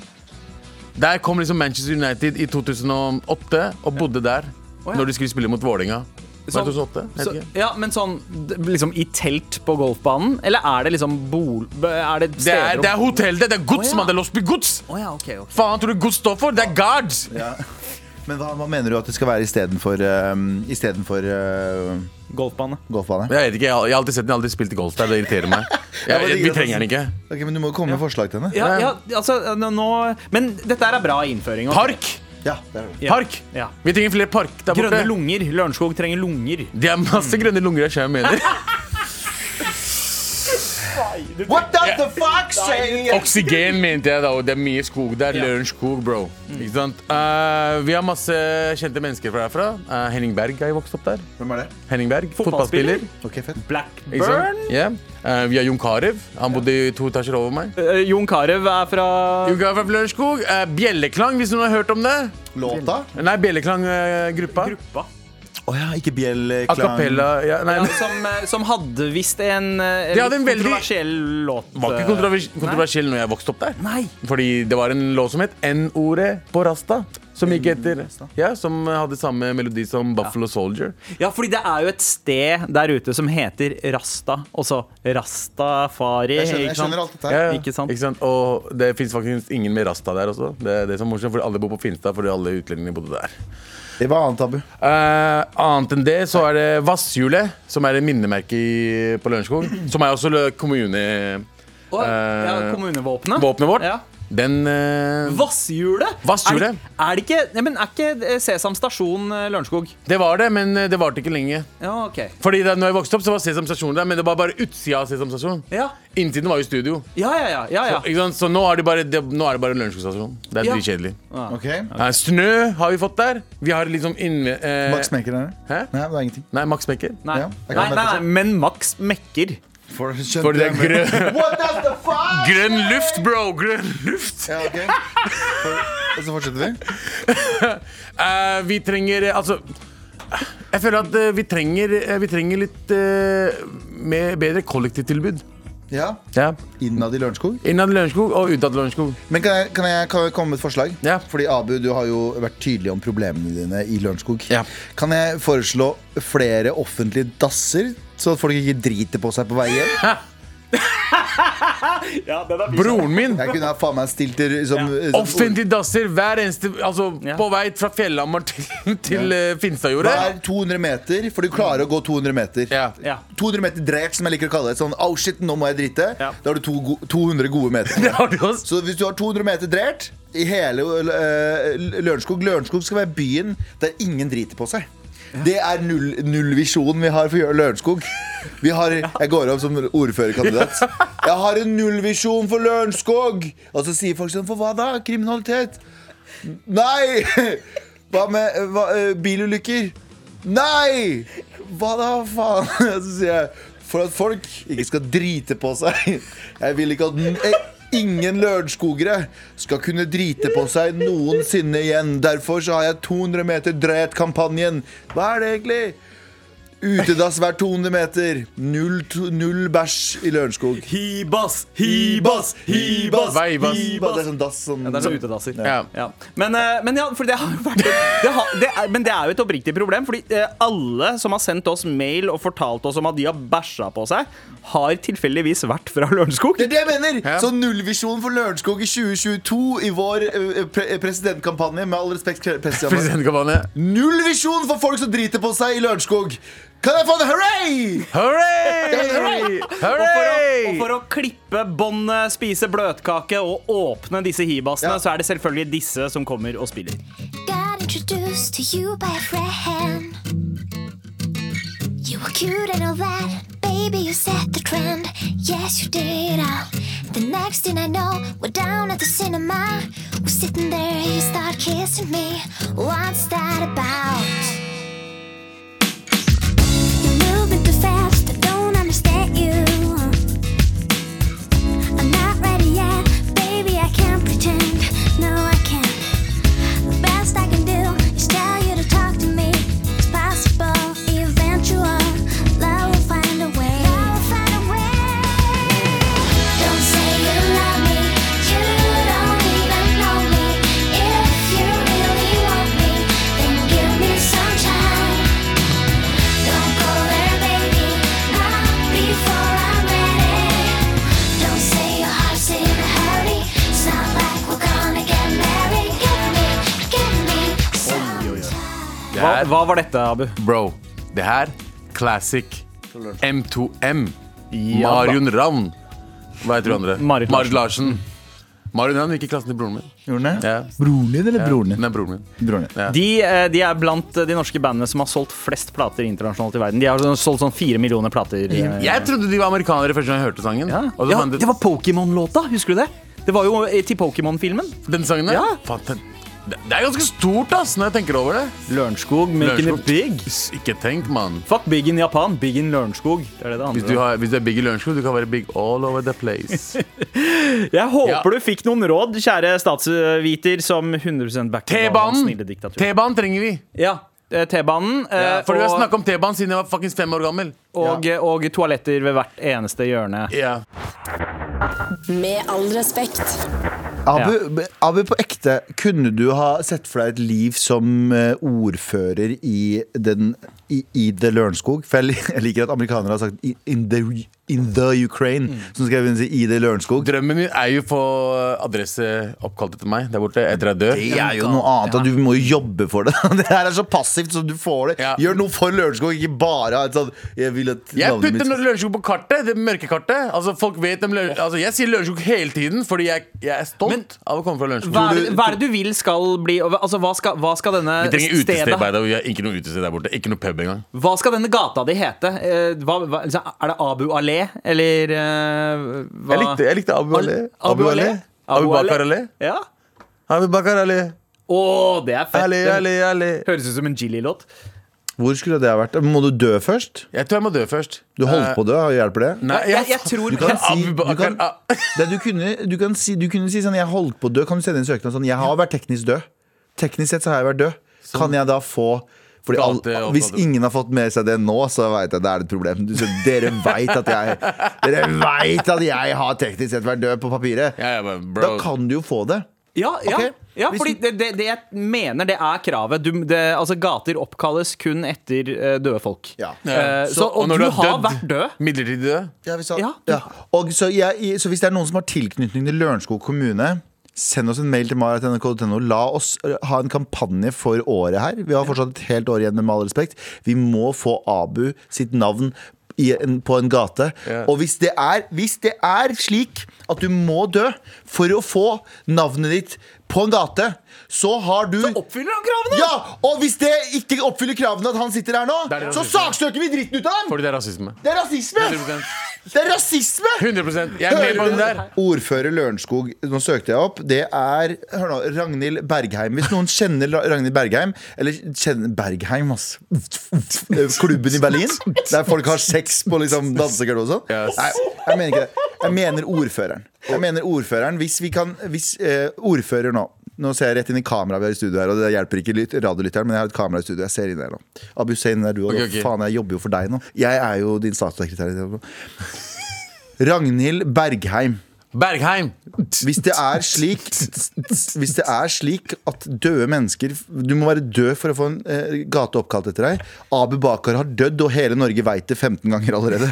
S4: Der kom liksom Manchester United i 2008 og bodde der
S2: ja.
S4: når de skulle spille mot Vålerenga. Var det 2008? Jeg vet
S2: så,
S4: ikke.
S2: ja, men sånn d- liksom i telt på golfbanen? Eller er det liksom bol... b- Er det
S4: Det er,
S2: steder
S4: det er hotell, det. Det er
S2: Å,
S4: gods,
S2: ja.
S4: mann. Det er Losby gods.
S2: Å ja, ok, ok.
S4: Faen tror du gods står for? Det er guards.
S3: Men hva, hva mener du at det skal være istedenfor um, istedenfor eh,
S2: Golfbane.
S3: golfbane?
S4: Jeg vet ikke, jeg har, jeg har alltid sett den, jeg har aldri spilt golf der. Det irriterer meg.
S3: var
S4: Jeg,
S3: det
S4: vi
S3: greit,
S4: trenger
S3: altså.
S4: den ikke.
S3: Ok, men du må jo komme med forslag til henne.
S2: Ja, ja, altså, n- nå Men dette her er bra innføring. ok?
S4: Park!
S3: Ja, det er det.
S2: Ja.
S4: Park!
S2: Ja.
S4: Vi trenger flere park der
S2: Grønne
S4: borte.
S2: lunger. Lørenskog trenger lunger.
S4: Det er masse grønne lunger jeg skjønner hva jeg mener.
S3: What does the fuck say?
S4: Oksygen mente jeg da, og det er mye skog der. Lørenskog, bro. Ikke sant? Eh, vi har masse kjente mennesker fra herfra. Eh, Henning Berg er jo vokst opp der.
S3: Hvem er det?
S4: Henning Berg,
S2: Fotballspiller.
S4: fotballspiller.
S3: Ok, fett.
S4: Ikke sant?
S2: Blackburn.
S4: Yeah. Eh, vi har Jon Carew. Han bodde i to etasjer over meg.
S2: Eh, Jon Carew er fra
S4: Jon Carew fra Lørenskog. Eh, Bjelleklang, hvis noen har hørt om det.
S3: Låta?
S4: Nei, Bjelleklang-gruppa.
S2: gruppa.
S3: Å ja, ikke eh, bjelleklang.
S4: A cappella ja, nei,
S2: Ja, som, eh, som hadde visst en, eh,
S4: De hadde en
S2: litt
S4: veldig-
S2: kontroversiell låt. eh,
S4: var ikke kontrovers kontroversiell når jeg vokste opp der.
S2: Nei.
S4: Fordi det var en låt som het N-ordet på Rasta. Som gikk etter Ja, som hadde samme melodi som Buffalo Soldier.
S2: Ja, fordi det er jo et sted der ute som heter Rasta. Også Rastafari.
S3: Jeg skjønner,
S2: ikke
S3: jeg
S2: sant?
S3: skjønner alt dette her.
S4: Ja, ja.
S2: Ikke sant?
S4: Ikke sant? Og det fins faktisk ingen med Rasta der også. Det er det som er morsomt, fordi alle bor på Finstad fordi alle utlendingene bodde der.
S3: Det var annet tabu.
S4: Eh, annet enn det så er det Vasshjulet, som er et minnemerke i, på Lørenskog. Som er også lø- kommune...
S2: Og, ja,
S4: Eh,
S2: kommunevåpenet.
S4: Våpenet vårt.
S2: Ja.
S4: Den eh,
S2: Vasshjulet?
S4: Vasshjulet.
S2: Er, det- er det ikke Nei, men Er ikke eh, Sesam stasjon eh, Lørenskog?
S4: Det var det, men eh, det varte ikke lenge.
S2: Ja, OK.
S4: Fordi da når jeg vokste opp, så var Sesam Stasjon der, men det var bare utsida av Sesam Stasjon.
S2: Ja,
S4: Innsiden var jo studio.
S2: ja, ja. ja, ja, ja.
S4: Ikke sant? Så nå er det bare, det, nå er det bare lunsjstasjon. Det er
S2: Ja.
S4: dritkjedelig.
S3: Ok,
S4: Eh, snø har vi fått der. Vi har liksom innve... eh,
S3: Max Mekker er det.
S4: Hæ?
S3: Nei, det er ingenting.
S4: Nei, Max Mekker.
S2: Nei.
S3: Ja, jeg kan
S2: nei, nei,
S3: dette
S2: nei,
S3: selv.
S2: men Max mekker.
S3: For,
S4: For det er grønn,
S3: What does the fuck?
S4: grønn luft, bro! Grønn luft!
S3: Ja, ok. For, og så fortsetter vi.
S4: Eh, vi trenger eh, Altså Jeg føler at eh, vi trenger eh, Vi trenger litt eh, mer- bedre kollektivtilbud.
S3: Ja,
S4: Ja.
S3: Innad i Lørenskog.
S4: Innad Lørenskog og utad Lørenskog.
S3: Men kan jeg, kan jeg kan jeg komme med et forslag?
S4: Ja.
S3: Fordi Abu, du har jo vært tydelig om problemene dine i Lørenskog.
S4: Ja.
S3: Kan jeg foreslå flere offentlige dasser, så at folk ikke driter på seg på vei hjem?
S4: Broren min
S3: Jeg kunne ha faen meg stilt til som, som
S4: Offentlige dasser hver eneste Altså
S2: Ja.
S4: på vei fra Fjellhammer til, til eh, Finstadjordet.
S3: Hver 200 meter, for du klarer å gå 200 meter.
S4: Ja.
S2: Ja.
S3: 200 meter drert, som jeg liker å kalle det. Sånn, oh shit, nå må jeg drite.
S2: Ja.
S3: Da har du to go 200 gode meter.
S4: Det har du også.
S3: Så hvis du har 200 meter drert i hele eh, Lørenskog Lørenskog skal være byen der ingen driter på seg. Det er null, nullvisjonen vi har for Lørenskog. Vi har, jeg går opp som ordførerkandidat. Jeg har en nullvisjon for Lørenskog! Og så sier folk sånn For hva da? Kriminalitet? Nei! Hva med eh, hva, eh, bilulykker? Nei! Hva da, faen? Så sier jeg for at folk ikke skal drite på seg. Jeg vil ikke at n- eh, ingen lørenskogere skal kunne drite på seg noensinne igjen. Derfor så har jeg 200 meter dret-kampanjen. Hva er det egentlig? Utedass hver 200 meter. Null, to- null bæsj i Lørenskog.
S2: Hibas, hibas, hibas,
S4: Veibas.
S3: Iba, Det er sånn dass sånn,
S2: Ja, det er sånn utedasser.
S4: Ja.
S2: Ja. Men, eh, men ja, for det har jo vært det har, det er, Men det er jo et oppriktig problem, fordi eh, alle som har sendt oss mail og fortalt oss om at de har bæsja på seg, har tilfeldigvis vært fra Lørenskog.
S3: Det er det jeg mener!
S4: Ja.
S3: Så nullvisjonen for Lørenskog i 2022 i vår eh, pre presidentkampanje, med all respekt presidentkampanje
S4: Presidentkampanje.
S3: Nullvisjon for folk som driter på seg i Lørenskog! Kan jeg få en hurray?
S4: Hurray!
S2: Og for, å, og
S4: Hurray!
S2: for å klippe båndet, spise bløtkake og åpne disse hibasene,
S3: Ja.
S2: så er det selvfølgelig disse som kommer og spiller.
S8: got introduced to you by a friend. You were cute and all that, baby. Baby, you set the trend. Yes, you did. Uh, the next thing I know, we're down at the cinema. We're sitting there, you start kissing me. What's that about? You're moving too fast. I don't understand you. I'm not ready yet, baby. I can't pretend. No, I can't. The best I can do is tell you to talk to me. It's possible, eventual. Love will find a way. Love will find a way. Don't say you love me. You don't even know me. If you really want me, then give me some time. Don't go there, baby. Not before I'm ready. Don't say your heart's in a hurry. It's not like we're gonna get married. Give me, give me some time.
S4: Det
S2: Hva,
S4: her-
S2: hva var dette, Abu?
S4: Bro, det her Classic M2M
S2: Ja
S4: Marion Ravn Hva heter du andre?
S2: Marit
S4: Marit Larsen Marion Ravn gikk i klassen til broren min
S3: Gjorde den det?
S4: ja.
S3: Broren din eller broren din?
S4: Nei, broren min
S3: Broren din.
S4: Ja.
S2: De, eh, de er blant de norske bandene som har solgt flest plater internasjonalt i verden. De har solgt sånn fire millioner plater. eh.
S4: Jeg trodde de var amerikanere første gang jeg hørte sangen
S2: Ja,
S4: Og så
S2: ja
S4: fant jeg-
S2: det var Pokémon-låta, husker du det? Det var jo eh, til Pokémon-filmen.
S4: Den sangen der?
S2: Ja.
S4: Faen, den- det det er ganske stort ass Når jeg tenker over det
S2: Lørenskog, making
S4: Lørenskog.
S2: it big.
S4: S- Ikke tenk, mann
S2: Fuck big in Japan, big in Lørenskog. Det er det det
S4: hvis
S2: handler
S4: du,
S2: om.
S4: har, hvis du er big i lønnskog, du kan være big all over the place
S2: Jeg håper
S4: Ja.
S2: du fikk noen råd, kjære statsviter, som 100 backer Galvans snille
S4: T-banen
S2: diktatur.
S4: T-banen trenger vi
S2: Ja, eh, T-banen. eh,
S4: For du har
S2: og-
S4: snakket om T-banen siden jeg var fucking fem år gammel
S2: og, og toaletter ved hvert eneste hjørne.
S4: Ja
S5: Med all respekt.
S3: Abu, Abu, på ekte, kunne du ha sett for deg et liv som eh, ordfører i, den, i, i The Lørenskog? For jeg, li- jeg liker at amerikanere har sagt i- in the, in the Ukraine, som skrev inn i The Lørenskog.
S4: Drømmen min er jo å få eh, adresse oppkalt etter meg der borte etter jeg dør.
S3: Det er jo noe annet, og du må jo jobbe for det. Det her er så passivt som du får det.
S4: Ja.
S3: Gjør noe for Lørenskog, ikke bare ha et sånn Jeg vil at
S4: Jeg
S3: navnet
S4: putter
S3: mitt
S4: Lørenskog på kartet, det mørke kartet. Altså folk vet om Lørenskog altså, Jeg sier Lørenskog hele tiden fordi jeg, jeg er stolt av å komme fra Lørenskog.
S2: Hva er, det- hva er det du vil skal bli og hva- Altså, hva skal, hva skal denne
S4: Vi trenger utested, by
S2: stedet
S4: the way. Vi har Ikke noe utested der borte. Ikke noe pub engang.
S2: Hva skal denne gata di hete? Eh, Hva, hva, altså, er det Abu Allé, eller eh, hva
S4: Jeg likte, jeg likte Abu Ali.
S2: Abu Allé?
S4: Abu Bakar Ali.
S2: Ja.
S4: Abu Bakar Ali.
S2: Å, det er fett.
S4: Ali,
S2: Det
S4: Ali, Ali.
S2: Høres ut som en Jilly-låt.
S3: Hvor skulle det ha vært? Må du dø først?
S4: Jeg tror jeg må dø først.
S3: Du holdt på å dø, hjelper det?
S4: Nei,
S2: Jeg, jeg tror
S3: Du kan si,
S4: Abu
S3: du
S4: Eh. Bakar
S3: kan,
S4: Ah. A-
S3: det du, kunne, du, kan si, du kunne si sånn Jeg holdt på å dø. Kan du sende inn søknad sånn Jeg har vært teknisk død. Teknisk sett så har jeg vært død. Kan jeg da få fordi
S4: Sånn. Gate-
S3: alle, Hvis ingen har fått med seg det nå, så vet jeg det er et problem. Du, så dere veit at jeg Dere vet at jeg har teknisk sett vært død på papiret.
S4: Ja, ja, men
S3: Da
S4: bro.
S3: kan du jo få det.
S2: Ja, ja,
S3: Ok.
S2: ja
S3: Hvis-
S2: fordi det, det, det jeg mener, det er kravet. Du, det, altså, gater oppkalles kun etter eh, døde folk.
S3: Ja.
S2: Eh, så, og,
S4: når
S2: du,
S4: er
S2: har
S4: dødd,
S2: vært død.
S4: Midlertidig død.
S3: Ja, hvis han,
S2: Ja.
S3: ja. Og så, jeg, så hvis det er noen som har tilknytning til Lørenskog kommune Send oss en mail til maratnrk.no. La oss ø, ha en kampanje for året her. Vi har fortsatt et helt år igjen, med all respekt. Vi må få Abu sitt navn i en, på en gate.
S4: Ja.
S3: Og hvis det, er, hvis det er slik at du må dø for å få navnet ditt på en gate, så har du
S2: Oppfyller han kravene?
S3: Ja! Og hvis det ikke oppfyller kravene at han sitter her nå,
S4: Det er
S3: så
S4: rasisme.
S3: saksøker vi dritten ut av ham!
S4: Fordi det er rasisme.
S3: Det er rasisme!
S4: 100%.
S3: Det er rasisme!
S4: 100 Jeg er med på den der.
S3: Ordfører Lørenskog, nå søkte jeg opp, det er hør nå, Ragnhild Bergheim. Hvis noen kjenner La- Ragnhild Bergheim, eller kjenner Bergheim, ass. Klubben i Berlin, der folk har sex på liksom dansegulvet og sånn.
S4: Yes.
S3: Nei, jeg mener ikke det. Jeg mener ordføreren. Jeg mener ordføreren Hvis vi kan Hvis eh, ordfører nå Nå ser jeg rett inn i kameraet vi har i studio her, og det hjelper ikke lyt- radiolytteren, men jeg har et kamera i studio. Jeg ser inn der nå. Abu, se inn der du òg.
S4: Ok, ok.
S3: Faen, jeg jobber jo for deg nå. Jeg er jo din statssekretær. i det. Ragnhild Bergheim.
S4: Bergheim.
S3: Hvis det er slik Hvis det er slik at døde mennesker Du må være død for å få en eh, gate oppkalt etter deg. Abu Bakar har dødd, og hele Norge veit det 15 ganger allerede.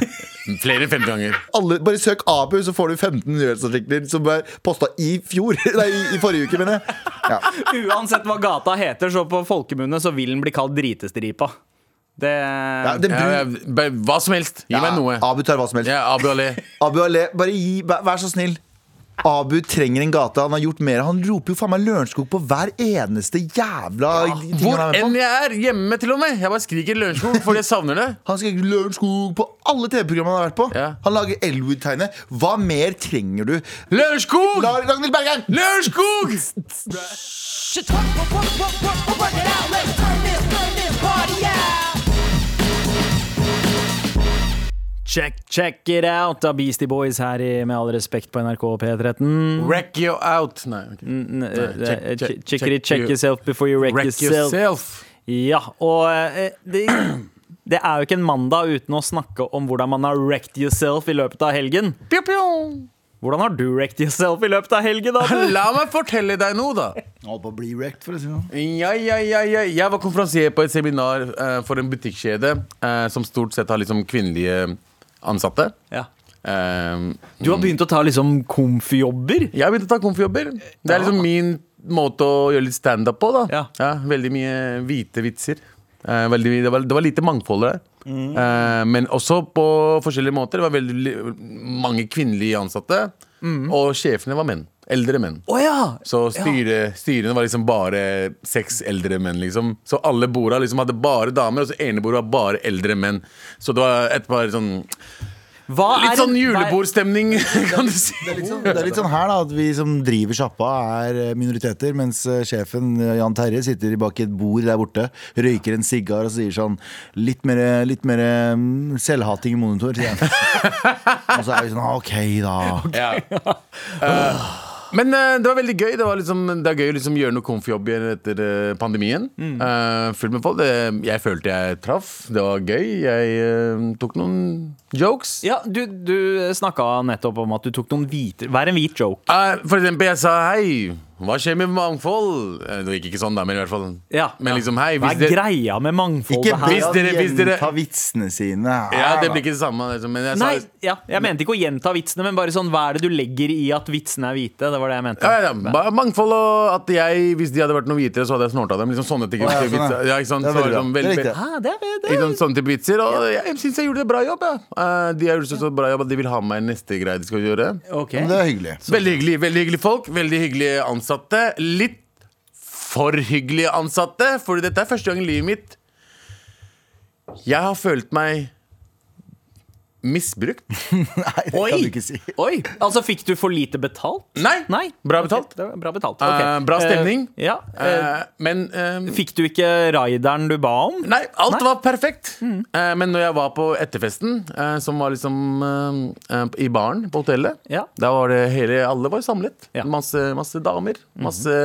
S4: Flere enn 50 ganger.
S3: Alle, bare søk Abu, så får du 15 nyhetsartikler som ble posta i fjor. Nei, i, i forrige uke, mener jeg. Ja.
S2: Uansett hva gata heter, så på folkemunne så vil den bli kalt Dritestripa. Det,
S3: Ja, det
S4: Ja, ja,
S3: bru-
S4: be- hva som helst. Gi meg noe.
S3: Abu tar hva som helst.
S4: Ja, Abu Ali.
S3: Abu Ale, bare gi, vær, vær så snill. Abu trenger en gate. Han har gjort mer. Han roper jo faen meg Lørenskog på hver eneste jævla ting
S4: Hvor
S3: han er med
S4: enn
S3: på.
S4: jeg er, hjemme til og med. Jeg bare skriker Lørenskog fordi jeg savner det.
S3: Han skriker Lørenskog på alle TV-programmene han har vært på.
S4: Ja.
S3: Han lager Elwood-tegnet. Hva mer trenger du?
S4: Lørenskog!
S3: La Ragnhild Bergheim!
S4: Lørenskog!
S2: Check, check it out av Beastie Boys her i Med all respekt på NRK P13.
S4: Wreck you out. Nei, ok. check,
S2: Check,
S4: check,
S2: check,
S4: eh, check you-
S2: yourself before you wreck,
S4: Wreck
S2: yourself.
S4: yourself.
S2: Ja, og eh, det, det er jo ikke en mandag uten å snakke om hvordan man har wrecked yourself i løpet av helgen.
S4: Pew, pew.
S2: Hvordan har du wrecked yourself i løpet av helgen, Abu?
S4: La meg fortelle deg noe, da.
S3: Holdt på å bli wrecked, for å si sånn. noe.
S4: Ja, ja, ja, ja. Jeg var konferansier på et seminar eh, for en butikkjede eh, som stort sett har liksom kvinnelige ansatte.
S2: Ja.
S4: Eh,
S2: Du har begynt å ta liksom komfjobber.
S4: Jeg har begynt å ta komfjobber. Det er liksom min måte å gjøre litt standup på. da
S2: Ja.
S4: Veldig mye hvite vitser. Eh, veldig, mye- det, var, det var lite mangfold der.
S2: Mm.
S4: Eh, men også på forskjellige måter. Det var veldig li- mange kvinnelige ansatte. Og sjefene var menn. Eldre menn.
S2: Mm. Å ja!
S4: Så styre, styrene var liksom bare seks eldre menn, liksom. Så alle borda liksom hadde bare damer, og så ene bordet var bare eldre menn. Så det var et par sånn
S2: Hva er
S4: Litt
S2: en-
S4: sånn julebordstemning, kan du si.
S3: Det er, litt sånn, det er litt sånn her da at vi som driver sjappa, er eh, minoriteter. Mens eh, sjefen, eh, Jan Terje, sitter bak et bord der borte, røyker en sigar og sier sånn Litt mer, litt mer eh, selvhating i monitor, sier han. og så er vi sånn ah, OK, da.
S4: Ja. Eh, men eh, det var veldig gøy. Det, var liksom, det er gøy å liksom gjøre noe komfjobb igjen etter eh, pandemien.
S3: Mm.
S4: Eh, fullt med folk. Det, jeg følte jeg traff. Det var gøy. Jeg eh, tok noen jokes.
S2: Ja, du, du snakka nettopp om at du tok noen hvite Vær en hvit joke.
S4: Eh, for eksempel, jeg sa hei, hva skjer med mangfold? Eh, Det gikk ikke sånn da, men i hvert fall
S2: Ja,
S4: Men
S2: ja.
S4: liksom, hei,
S2: Hva
S4: hvis
S2: er
S4: dere
S2: greia med mangfoldet
S3: Ikke
S2: her?
S3: be
S4: hvis
S3: han
S4: dere- hvis dere-
S3: gjenta vitsene sine.
S4: Ja, det
S3: da.
S4: blir ikke det samme liksom, Men jeg sa
S2: Nei, ja, jeg mente ikke å gjenta vitsene, men bare sånn, hva er det du legger i at vitsene er hvite? Det var det jeg mente.
S4: ja, ja, ja, ba- mangfold og at jeg, hvis de hadde vært noe hvitere Så hadde jeg snorta dem, liksom sånne ting
S3: Å, ja, sånn,
S4: ikke vitser.
S3: ja.
S4: ja, ikke sant?
S3: Det er
S4: Så var
S3: veldig
S4: det
S3: bra. Det er riktig.
S4: sånn, veldig-
S2: Ah, det, er- det,
S4: Ikke sant, sånne type vitser sånn Og jeg, jeg synes jeg gjorde det bra jobb, ja Eh, De har gjort det så bra jobb at de vil ha med meg i neste greie de skal gjøre
S2: Ok.
S3: Men det er hyggelig.
S4: Veldig hyggelig, veldig hyggelig folk Veldig hyggelige ansatte Litt for hyggelige ansatte Fordi dette er første gang i livet mitt Jeg har følt meg Misbrukt
S3: Nei, det
S2: Oi.
S3: kan du ikke si.
S2: Oi! Altså, fikk du for lite betalt?
S4: Nei,
S2: Nei.
S4: bra
S2: Ok,
S4: betalt
S2: det var bra betalt.
S4: Eh,
S2: ok.
S4: bra stemning.
S2: Eh, ja. eh,
S4: Eh, Men eh,
S2: fikk du ikke rideren du ba om?
S4: Nei, alt var perfekt.
S2: Mm.
S4: Eh, men når jeg var på etterfesten, eh, som var liksom eh, eh, i baren på hotellet
S2: Ja.
S4: Da var det hele Alle var samlet.
S2: Ja. Mhm.
S4: Masse, masse damer. Masse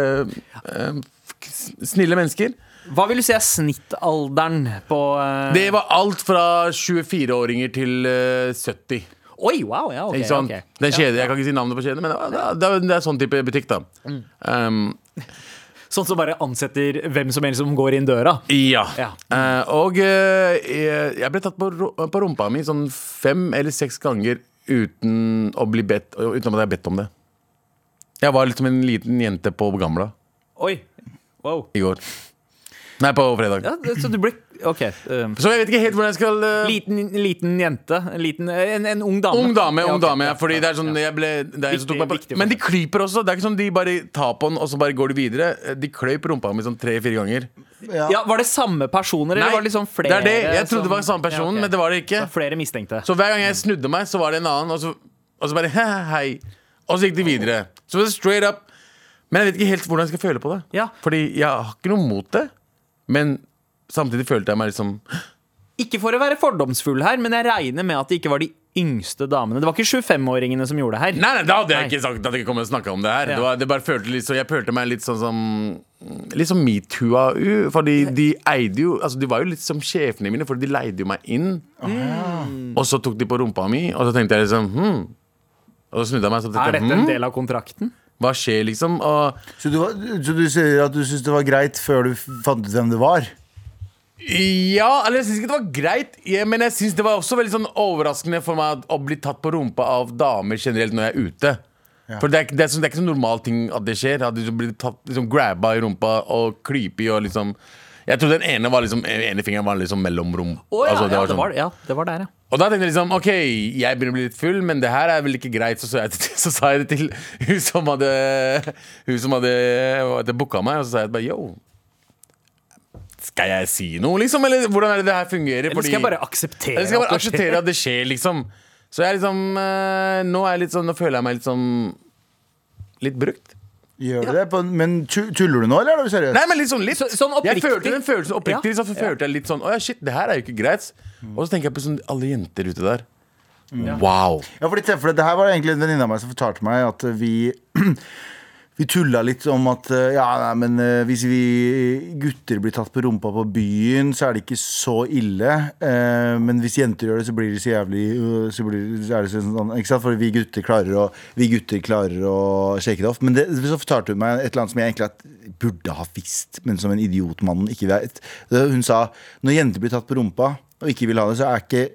S4: eh, f- snille mennesker.
S2: Hva vil du si er snittalderen på eh,
S4: Det var alt fra 24-åringer til eh, 70.
S2: Oi, wow! Ja, ok.
S4: Ikke sant?
S2: ok.
S4: Den kjede, Jeg kan ikke si navnet på kjeden, men det, var- det, er- det er sånn type butikk, da.
S2: Mm.
S4: Um,
S2: Sånn som bare ansetter hvem som helst som går inn døra?
S4: Ja.
S2: Ja.
S4: Eh, og eh, jeg jeg ble tatt på, ro- på rumpa mi sånn fem eller seks ganger uten, å bli bedt, uten at jeg har bedt om det. Jeg var litt som en liten jente på Gamla
S2: Oi. Wow.
S4: i går. Nei, på fredag.
S2: Ja, det- så du ble OK. eh,
S4: Så jeg vet ikke helt hvordan jeg skal eh,
S2: liten, liten jente. En, liten, en, en ung dame.
S4: Ung dame,
S2: Ja,
S4: ung
S2: ok.
S4: dame.
S2: Ja,
S4: Fordi
S2: ja,
S4: det er sånn
S2: ja.
S4: jeg ble, det er en som
S2: Viktig-
S4: tok meg
S2: viktig
S4: på. Men de klyper også. Det er ikke sånn de bare tar på den, og så bare går de videre. De kløyp rumpa mi sånn tre-fire ganger.
S2: Ja, Var det samme personer, eller
S4: sånn- Nei,
S2: var det liksom flere?
S4: det er det. Jeg trodde det var
S2: som-
S4: samme person,
S2: ok.
S4: men det var det ikke.
S2: var flere mistenkte.
S4: Så hver gang jeg snudde meg, så var det en annen. Og så, og så bare «Hæ, hei. Og så gikk de videre. Så det var straight up. Men jeg vet ikke helt hvordan jeg skal føle på det.
S2: Ja.
S4: Fordi jeg har ikke noe mot det. Men samtidig følte jeg meg liksom
S2: Ikke for å være fordomsfull her, men jeg regner med at det ikke var de yngste damene. Det var ikke 25-åringene som gjorde det her.
S4: Nei, nei, da hadde jeg
S2: Nei.
S4: ikke sagt at jeg ikke kom til å snakke om det her.
S2: Ja.
S4: Det var, det bare følte litt, så jeg følte meg litt sånn som Litt som metoo-au. Fordi de eide jo Altså, de var jo litt som sjefene mine, for de leide jo meg inn.
S2: Ah.
S4: Og så tok de på rumpa mi, og så tenkte jeg liksom hm. Og så snudde jeg meg og så
S2: Er
S4: tenkte
S2: dette en
S4: jeg, hm,
S2: del av kontrakten?
S4: hva skjer, liksom? Og
S3: Så du, var- så du sier at du syns det var greit før du fant ut hvem det var?
S4: Ja, eller jeg syns ikke det var greit, ja, men jeg synes det var også veldig sånn overraskende for meg at- å bli tatt på rumpa av damer generelt når jeg er ute. For det er, ikke- det, er sånn, det er ikke så normal ting at det skjer. At du blir tatt, liksom, grabba i rumpa og klype i og liksom Jeg trodde den ene, var liksom, ene fingeren var liksom mellomrom.
S2: Å, ja,
S4: Altså, det
S2: ja,
S4: var
S2: det
S4: sånn-
S2: var, ja, det var der, ja.
S4: og da tenkte jeg liksom, ok, jeg begynner å bli litt full, men det her er vel ikke greit. Så, så, jeg, så sa jeg det til hun som hadde, hun som hadde, hadde booka meg, og så sa jeg bare yo. Skal jeg si noe, liksom? Eller hvordan er det det her fungerer?
S2: Eller skal jeg bare akseptere
S4: Eller skal jeg
S2: at
S4: bare
S2: det skjer?
S4: akseptere at det skjer, liksom? Så jeg er liksom eh, Nå er jeg litt sånn, nå føler jeg meg litt sånn Litt brukt.
S3: Gjør du det? På, en- men tu- tuller du nå, eller er du seriøs?
S4: Nei, men litt sånn litt.
S2: Så- sånn
S4: jeg
S2: oppriktig?
S4: følte den følelsen oppriktig.
S2: Ja.
S4: Liksom, så følte jeg litt sånn Å ja, shit, det her er jo ikke greit. Og så tenker jeg på sånn alle jenter ute der. Wow.
S3: Ja, fordi, se for deg, det her var egentlig en venninne av meg som fortalte meg at vi Vi tulla litt om at eh, ja, nei, men eh, hvis vi gutter blir tatt på rumpa på byen, så er det ikke så ille. Eh, men hvis jenter gjør det, så blir det så jævlig øh, så blir, det- så er det så sånn, ikke sant? For vi gutter klarer å, vi gutter klarer å shake det off. Men det, så fortalte hun meg et eller annet som jeg egentlig at- burde ha visst, men som en idiot mannen ikke vet. Det- Hun sa når jenter blir tatt på rumpa og ikke vil ha det, så er ikke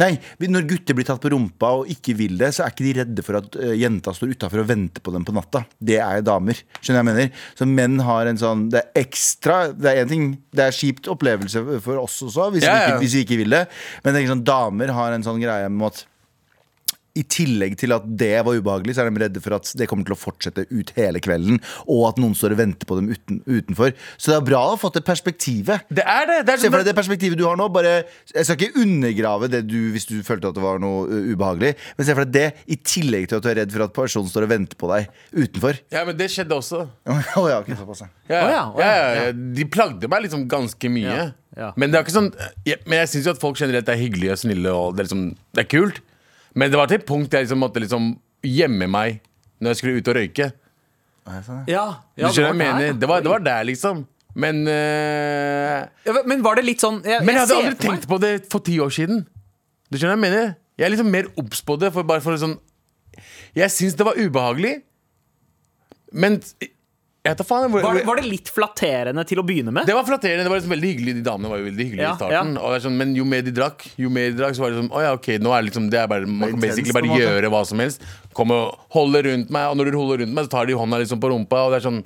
S3: Nei, når gutter blir tatt på rumpa og ikke vil det, så er ikke de redde for at eh, jenta står utafor og venter på dem på natta. Det er damer. Skjønner jeg hva jeg mener? Så menn har en sånn Det er ekstra Det er en ting Det er kjipt opplevelse for oss også, hvis,
S4: Ja,
S3: Vi,
S4: ja.
S3: ikke, hvis vi ikke vil det. Men jeg tenker sånn, damer har en sånn greie med at i tillegg til at det var ubehagelig, så er de redde for at det kommer til å fortsette ut hele kvelden. Og at noen står og venter på dem uten, utenfor. Så det er bra å ha fått det perspektivet.
S4: Det er det. det
S3: Se
S4: er sånn-
S3: for deg det perspektivet du har nå. Bare, jeg skal ikke undergrave det du hvis du følte at det var noe ø, ubehagelig. Men se for deg det i tillegg til at du er redd for at personen står og venter på deg utenfor.
S4: Ja, men det skjedde også.
S3: Å ja, ok, såpass, ja.
S4: Ja,
S2: Å ja,
S4: ja,
S2: å ja,
S4: ja. De plagde meg liksom ganske mye.
S2: Ja, ja.
S4: Men det er ikke sånn ja, Men jeg syns jo at folk generelt er hyggelige og snille, og det er, liksom, det er kult. Men det var til et punkt der jeg liksom måtte liksom gjemme meg når jeg skulle ut og røyke.
S3: sånn,
S2: ja, ja
S4: du skjønner hva jeg
S2: der,
S4: mener?
S2: ja.
S4: Det, var, det var der, liksom. Men eh,
S2: Ja, Men var det litt sånn jeg,
S4: Men jeg hadde
S2: ser for
S4: aldri
S2: meg-
S4: tenkt på det for ti år siden. Du skjønner hva jeg mener? Jeg er liksom mer obs på det. For bare for sånn Jeg syns det var ubehagelig, men jeg vet da faen. hvor-
S2: var, det- var det litt flatterende til å begynne med?
S4: Det var flatterende. det var liksom veldig hyggelig De damene var jo veldig hyggelige
S2: Ja,
S4: i starten. Og det er sånn, men jo mer de drakk, jo mer de drakk så var det sånn Å ja, ok, nå er det liksom det er bare, Man kan
S3: intenst,
S4: basically
S3: på
S4: bare
S3: en måte.
S4: gjøre hva som helst. Kom og holde rundt meg, og når du holder rundt meg, så tar de hånda liksom på rumpa, og det er sånn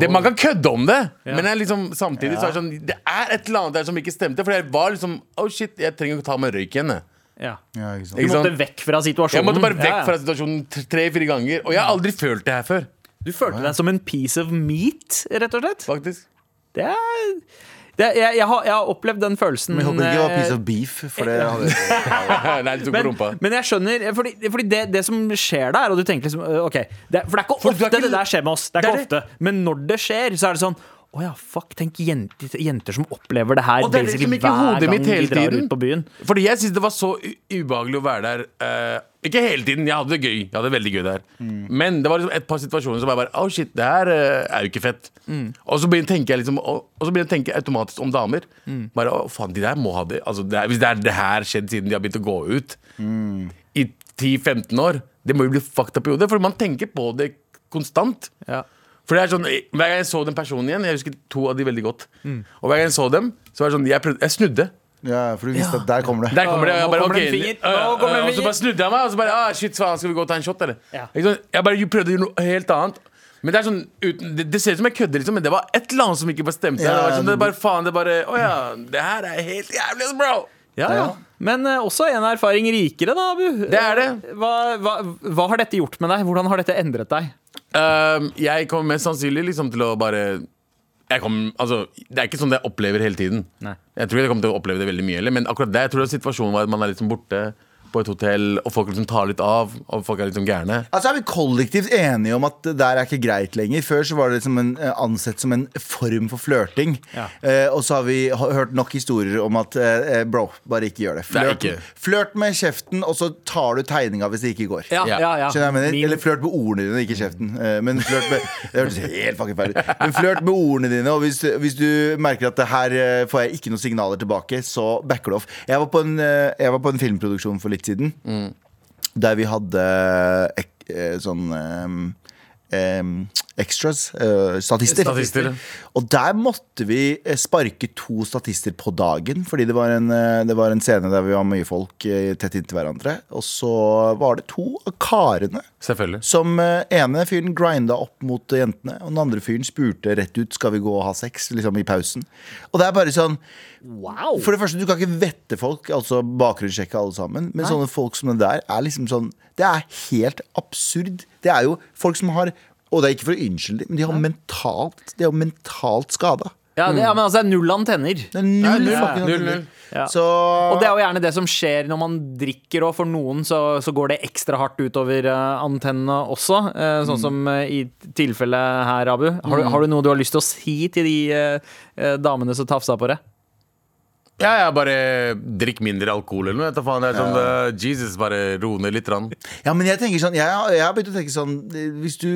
S4: det, man kan kødde om det, men jeg liksom, samtidig så er det sånn Det er et eller annet der som ikke stemte. For jeg var liksom Oh shit, jeg trenger å ta meg en røyk igjen. jeg.
S2: Ja.
S3: ja ikke sant.
S2: Du
S4: Ikke sant?
S2: måtte vekk fra situasjonen.
S4: Jeg måtte bare vekk
S2: Ja, ja.
S4: fra situasjonen t- tre-fire ganger. Og jeg har aldri følt det her før.
S2: Du følte deg som en piece of meat, rett og slett?
S4: Faktisk
S2: Det er, det er, jeg, jeg, har, jeg har opplevd den følelsen.
S3: Men jeg håper det ikke var
S2: eh,
S3: piece of beef, for det hadde
S4: Nei, du tok på rumpa.
S2: men, men jeg skjønner, eh, fordi, fordi det, det som skjer der, og du tenker liksom øh, OK, det, er- for det er ikke
S4: For du
S2: ofte
S4: er ikke-
S2: det der skjer med oss. Det er
S4: Det
S2: ikke
S4: er
S2: ofte. Men når det skjer, så er det sånn å ja, fuck, tenk jenter, jenter som opplever det her
S4: Og det er
S2: basically
S4: liksom ikke i hodet mitt hele
S2: de drar
S4: tiden.
S2: ut på byen.
S4: Fordi jeg synes det var så u- ubehagelig å være der. eh, ikke hele tiden, jeg hadde det gøy. Jeg hadde det veldig gøy der Men det var liksom et par situasjoner som jeg bare Å, shit, det her eh, er jo ikke fett. Og så begynner tenker jeg liksom Og, og så begynner jeg å tenke automatisk om damer. Bare å, faen, de der må ha det. Altså, det er, hvis det er det her skjedd siden de har begynt å gå ut i 10-15 år, det må jo bli fucked up i hodet. For man tenker på det konstant.
S2: Ja.
S4: For det er sånn, Hver gang jeg så den personen igjen, jeg husker to av de veldig godt. Og hver gang jeg så dem, så var det sånn Jeg, prøvde, jeg snudde.
S3: Ja, for du visste at der kommer det.
S4: Der kommer det, og jeg
S2: Nå
S4: bare,
S2: kommer det en
S4: ok,
S2: finger.
S4: øh,
S2: Nå kommer det en
S4: øh, Og så
S2: finger.
S4: bare snudde jeg meg, og så bare ah, Shit, faen, skal vi gå og ta en shot, eller?
S2: Ja.
S4: Ikke sant? Jeg bare prøvde å gjøre noe helt annet. Men Det er sånn, uten, det, det ser ut som jeg kødder, liksom, men det var et eller annet som ikke bare stemte.
S3: Ja,
S4: det, var
S3: ja,
S4: sånn, det er bare faen, det er bare Å ja, det her er helt jævlig, altså, bro!
S2: Ja, ja. Men eh, også en erfaring rikere, da, Abu. Eh,
S4: Det er det.
S2: Hva, hva, hva har dette gjort med deg? Hvordan har dette endret deg?
S4: Ehm, jeg kommer mest sannsynlig liksom til å bare jeg kommer, altså, Det er ikke sånn det jeg opplever hele tiden.
S2: Nei.
S4: Jeg tror ikke jeg kommer til å oppleve det veldig mye heller, men akkurat det, jeg tror situasjonen var at man er liksom borte på et hotell, og folk liksom tar litt av, og folk er liksom gærne.
S3: Altså Er vi kollektivt enige om at det der er ikke greit lenger? Før så var det liksom en, eh, ansett som en form for flørting.
S2: Ja.
S3: Eh, og så har vi h- hørt nok historier om at eh, eh, bro, bare ikke gjør det.
S4: Nei,
S3: Flørt,
S4: ikke.
S3: flørt med kjeften, og så tar du tegninga hvis det ikke går.
S2: Ja, ja, ja.
S3: Skjønner jeg hva jeg mener?
S2: Min-
S3: Eller flørt med ordene dine, ikke kjeften. Eh, Men flørt med Det hørtes helt fucking feil ut. Men flørt med ordene dine, og hvis, hvis du merker at det her eh, får jeg ikke noen signaler tilbake, så backer du off. Jeg var på en, eh, jeg var på en filmproduksjon for litt siden, der vi hadde ek, eh, sånn eh, em, extras, eh, statister.
S4: Statister.
S3: Og der måtte vi eh, sparke to statister på dagen, fordi det var en, eh, det var en scene der vi var mye folk eh, tett inntil hverandre. Og så var det to av karene
S4: Selvfølgelig.
S3: som eh, ene fyren grinda opp mot eh, jentene, og den andre fyren spurte rett ut Skal vi gå og ha sex liksom i pausen. Og det er bare sånn
S4: Oh.
S3: For det første, du kan ikke vette folk, altså bakgrunnssjekke alle sammen. Men sånne folk som det der er liksom sånn Det er helt absurd. Det er jo folk som har Og det er ikke for å unnskylde dem, men de har mentalt De er jo mentalt skada.
S2: Ja, det, ja, men altså, det er null antenner.
S3: Det er null
S4: null,
S3: fucking
S4: null,
S3: antenner.
S4: null.
S2: Ja.
S3: Så
S2: Og det er jo gjerne det som skjer når man drikker, og for noen så, så går det ekstra hardt utover eh, antennene også. eh,
S4: Mm.
S2: Sånn som eh, i tilfellet her, Abu. Har du, har du noe du har lyst til å si til de eh, eh, damene som tafsa på deg?
S4: Ja, ja, bare drikk mindre alkohol eller noe. vet du faen. Det er sånn, eh, Jesus, bare ro ned litt. Rann.
S3: Ja, men jeg tenker sånn Jeg, jeg har begynt å tenke sånn eh, Hvis du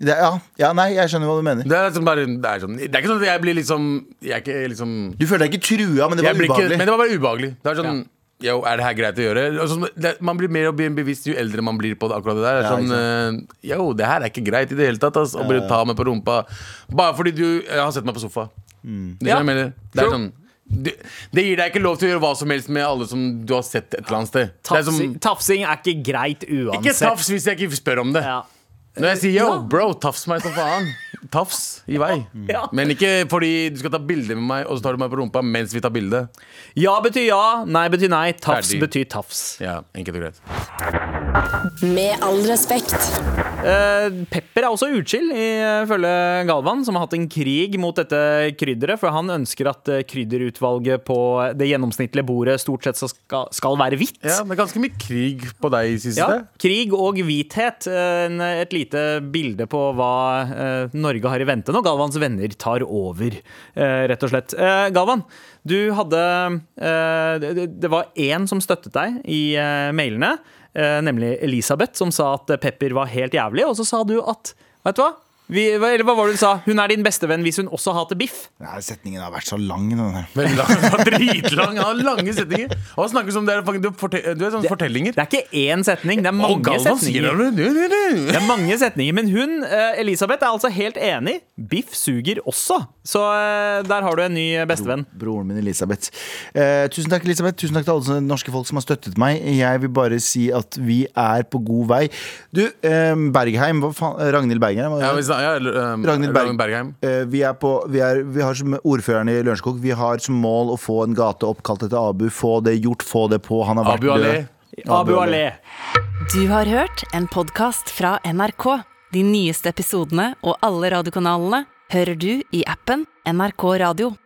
S3: det, ja, ja, nei, jeg skjønner hva du mener.
S4: Det, er liksom bare, det, er sånn, det er ikke sånn at jeg blir liksom Jeg er ikke liksom
S3: Du føler deg ikke trua, men det
S4: jeg
S3: var
S4: blir ikke-
S3: ubehagelig.
S4: Men det var bare ubehagelig. Det er sånn Yo, er det her greit å gjøre? Og sånn, det, man blir mer og mer bevisst jo eldre man blir på det, akkurat det der. Det
S3: Ja,
S4: er sånn, eh, Yo, det her er ikke greit i det hele tatt. Ass, å bare ta meg på rumpa bare fordi du jeg har sett meg på sofa.
S3: Mm.
S4: Det, er
S2: Ja,
S4: det jeg mener. det, er
S2: true.
S4: sånn, det, det gir deg ikke lov til å gjøre hva som helst med alle som du har sett et eller annet sted. Det er som,
S2: Tafsing, tafsing er ikke greit uansett.
S4: ikke tafs hvis jeg ikke spør om det.
S2: Ja.
S4: Når jeg sier yo,
S2: Ja.
S4: bro, tafs meg som faen. Tafs i vei.
S2: Ja.
S4: Men ikke fordi du skal ta bilde med meg, og så tar du meg på rumpa mens vi tar bilde.
S2: ja betyr ja, nei betyr nei. Tafs
S4: Ferdig.
S2: betyr tafs.
S4: Ja, enkelt og greit.
S5: Med all respekt.
S2: Eh, Pepper er også utskill, ifølge Galvan, som har hatt en krig mot dette krydderet. For han ønsker at eh, krydderutvalget på det gjennomsnittlige bordet stort sett så skal, skal være hvitt.
S4: Ja, men ganske mye krig på deg i siste.
S2: Ja, krig og hvithet. Eh, en- Et lite bilde på hva eh, Norge har i vente når Galvans venner tar over, eh, rett og slett. Eh, Galvan, du hadde eh, det- Det var én som støttet deg i eh, mailene, eh, nemlig Elisabeth, som sa at Pepper var helt jævlig, og så sa du at Vet du hva? Vi, hva- eller hva var det du sa? Hun er din beste venn hvis hun også hater biff.
S3: Nei, setningen har vært så lang. Den her.
S4: Veldig lang. Den var Dritlang. Han har lange setninger. Og han snakker som det er, fucking- du, forte- du er sånne fortellinger.
S2: Det er ikke én setning, det er mange
S4: Og Galvan sier
S2: setninger.
S4: det. Du, du, du.
S2: Det er mange setninger, men hun, eh, Elisabeth, er altså helt enig. Biff suger også. Så eh, der har du en ny bestevenn.
S3: Broren min Elisabeth. Eh, tusen takk, Elisabeth. Tusen takk til alle sånne norske folk som har støttet meg. Jeg vil bare si at vi er på god vei. Du, eh, Bergheim, hva faen? Eh, Ragnhild Bergheim? hva
S4: Ja,
S3: er
S4: vi
S3: det?
S4: snak- ja, eller, um,
S3: Ragnhild Berg-
S4: Ragnhild Bergheim.
S3: Eh, vi, er på, vi, er, vi har som ordføreren i Lørenskog Vi har som mål å få en gate oppkalt etter Abu. Få det gjort, få det på. Han har vært
S4: Abu Ali.
S3: død.
S2: Abu Ale.
S1: Du har hørt en podkast fra NRK. De nyeste episodene og alle radiokanalene hører du i appen NRK Radio.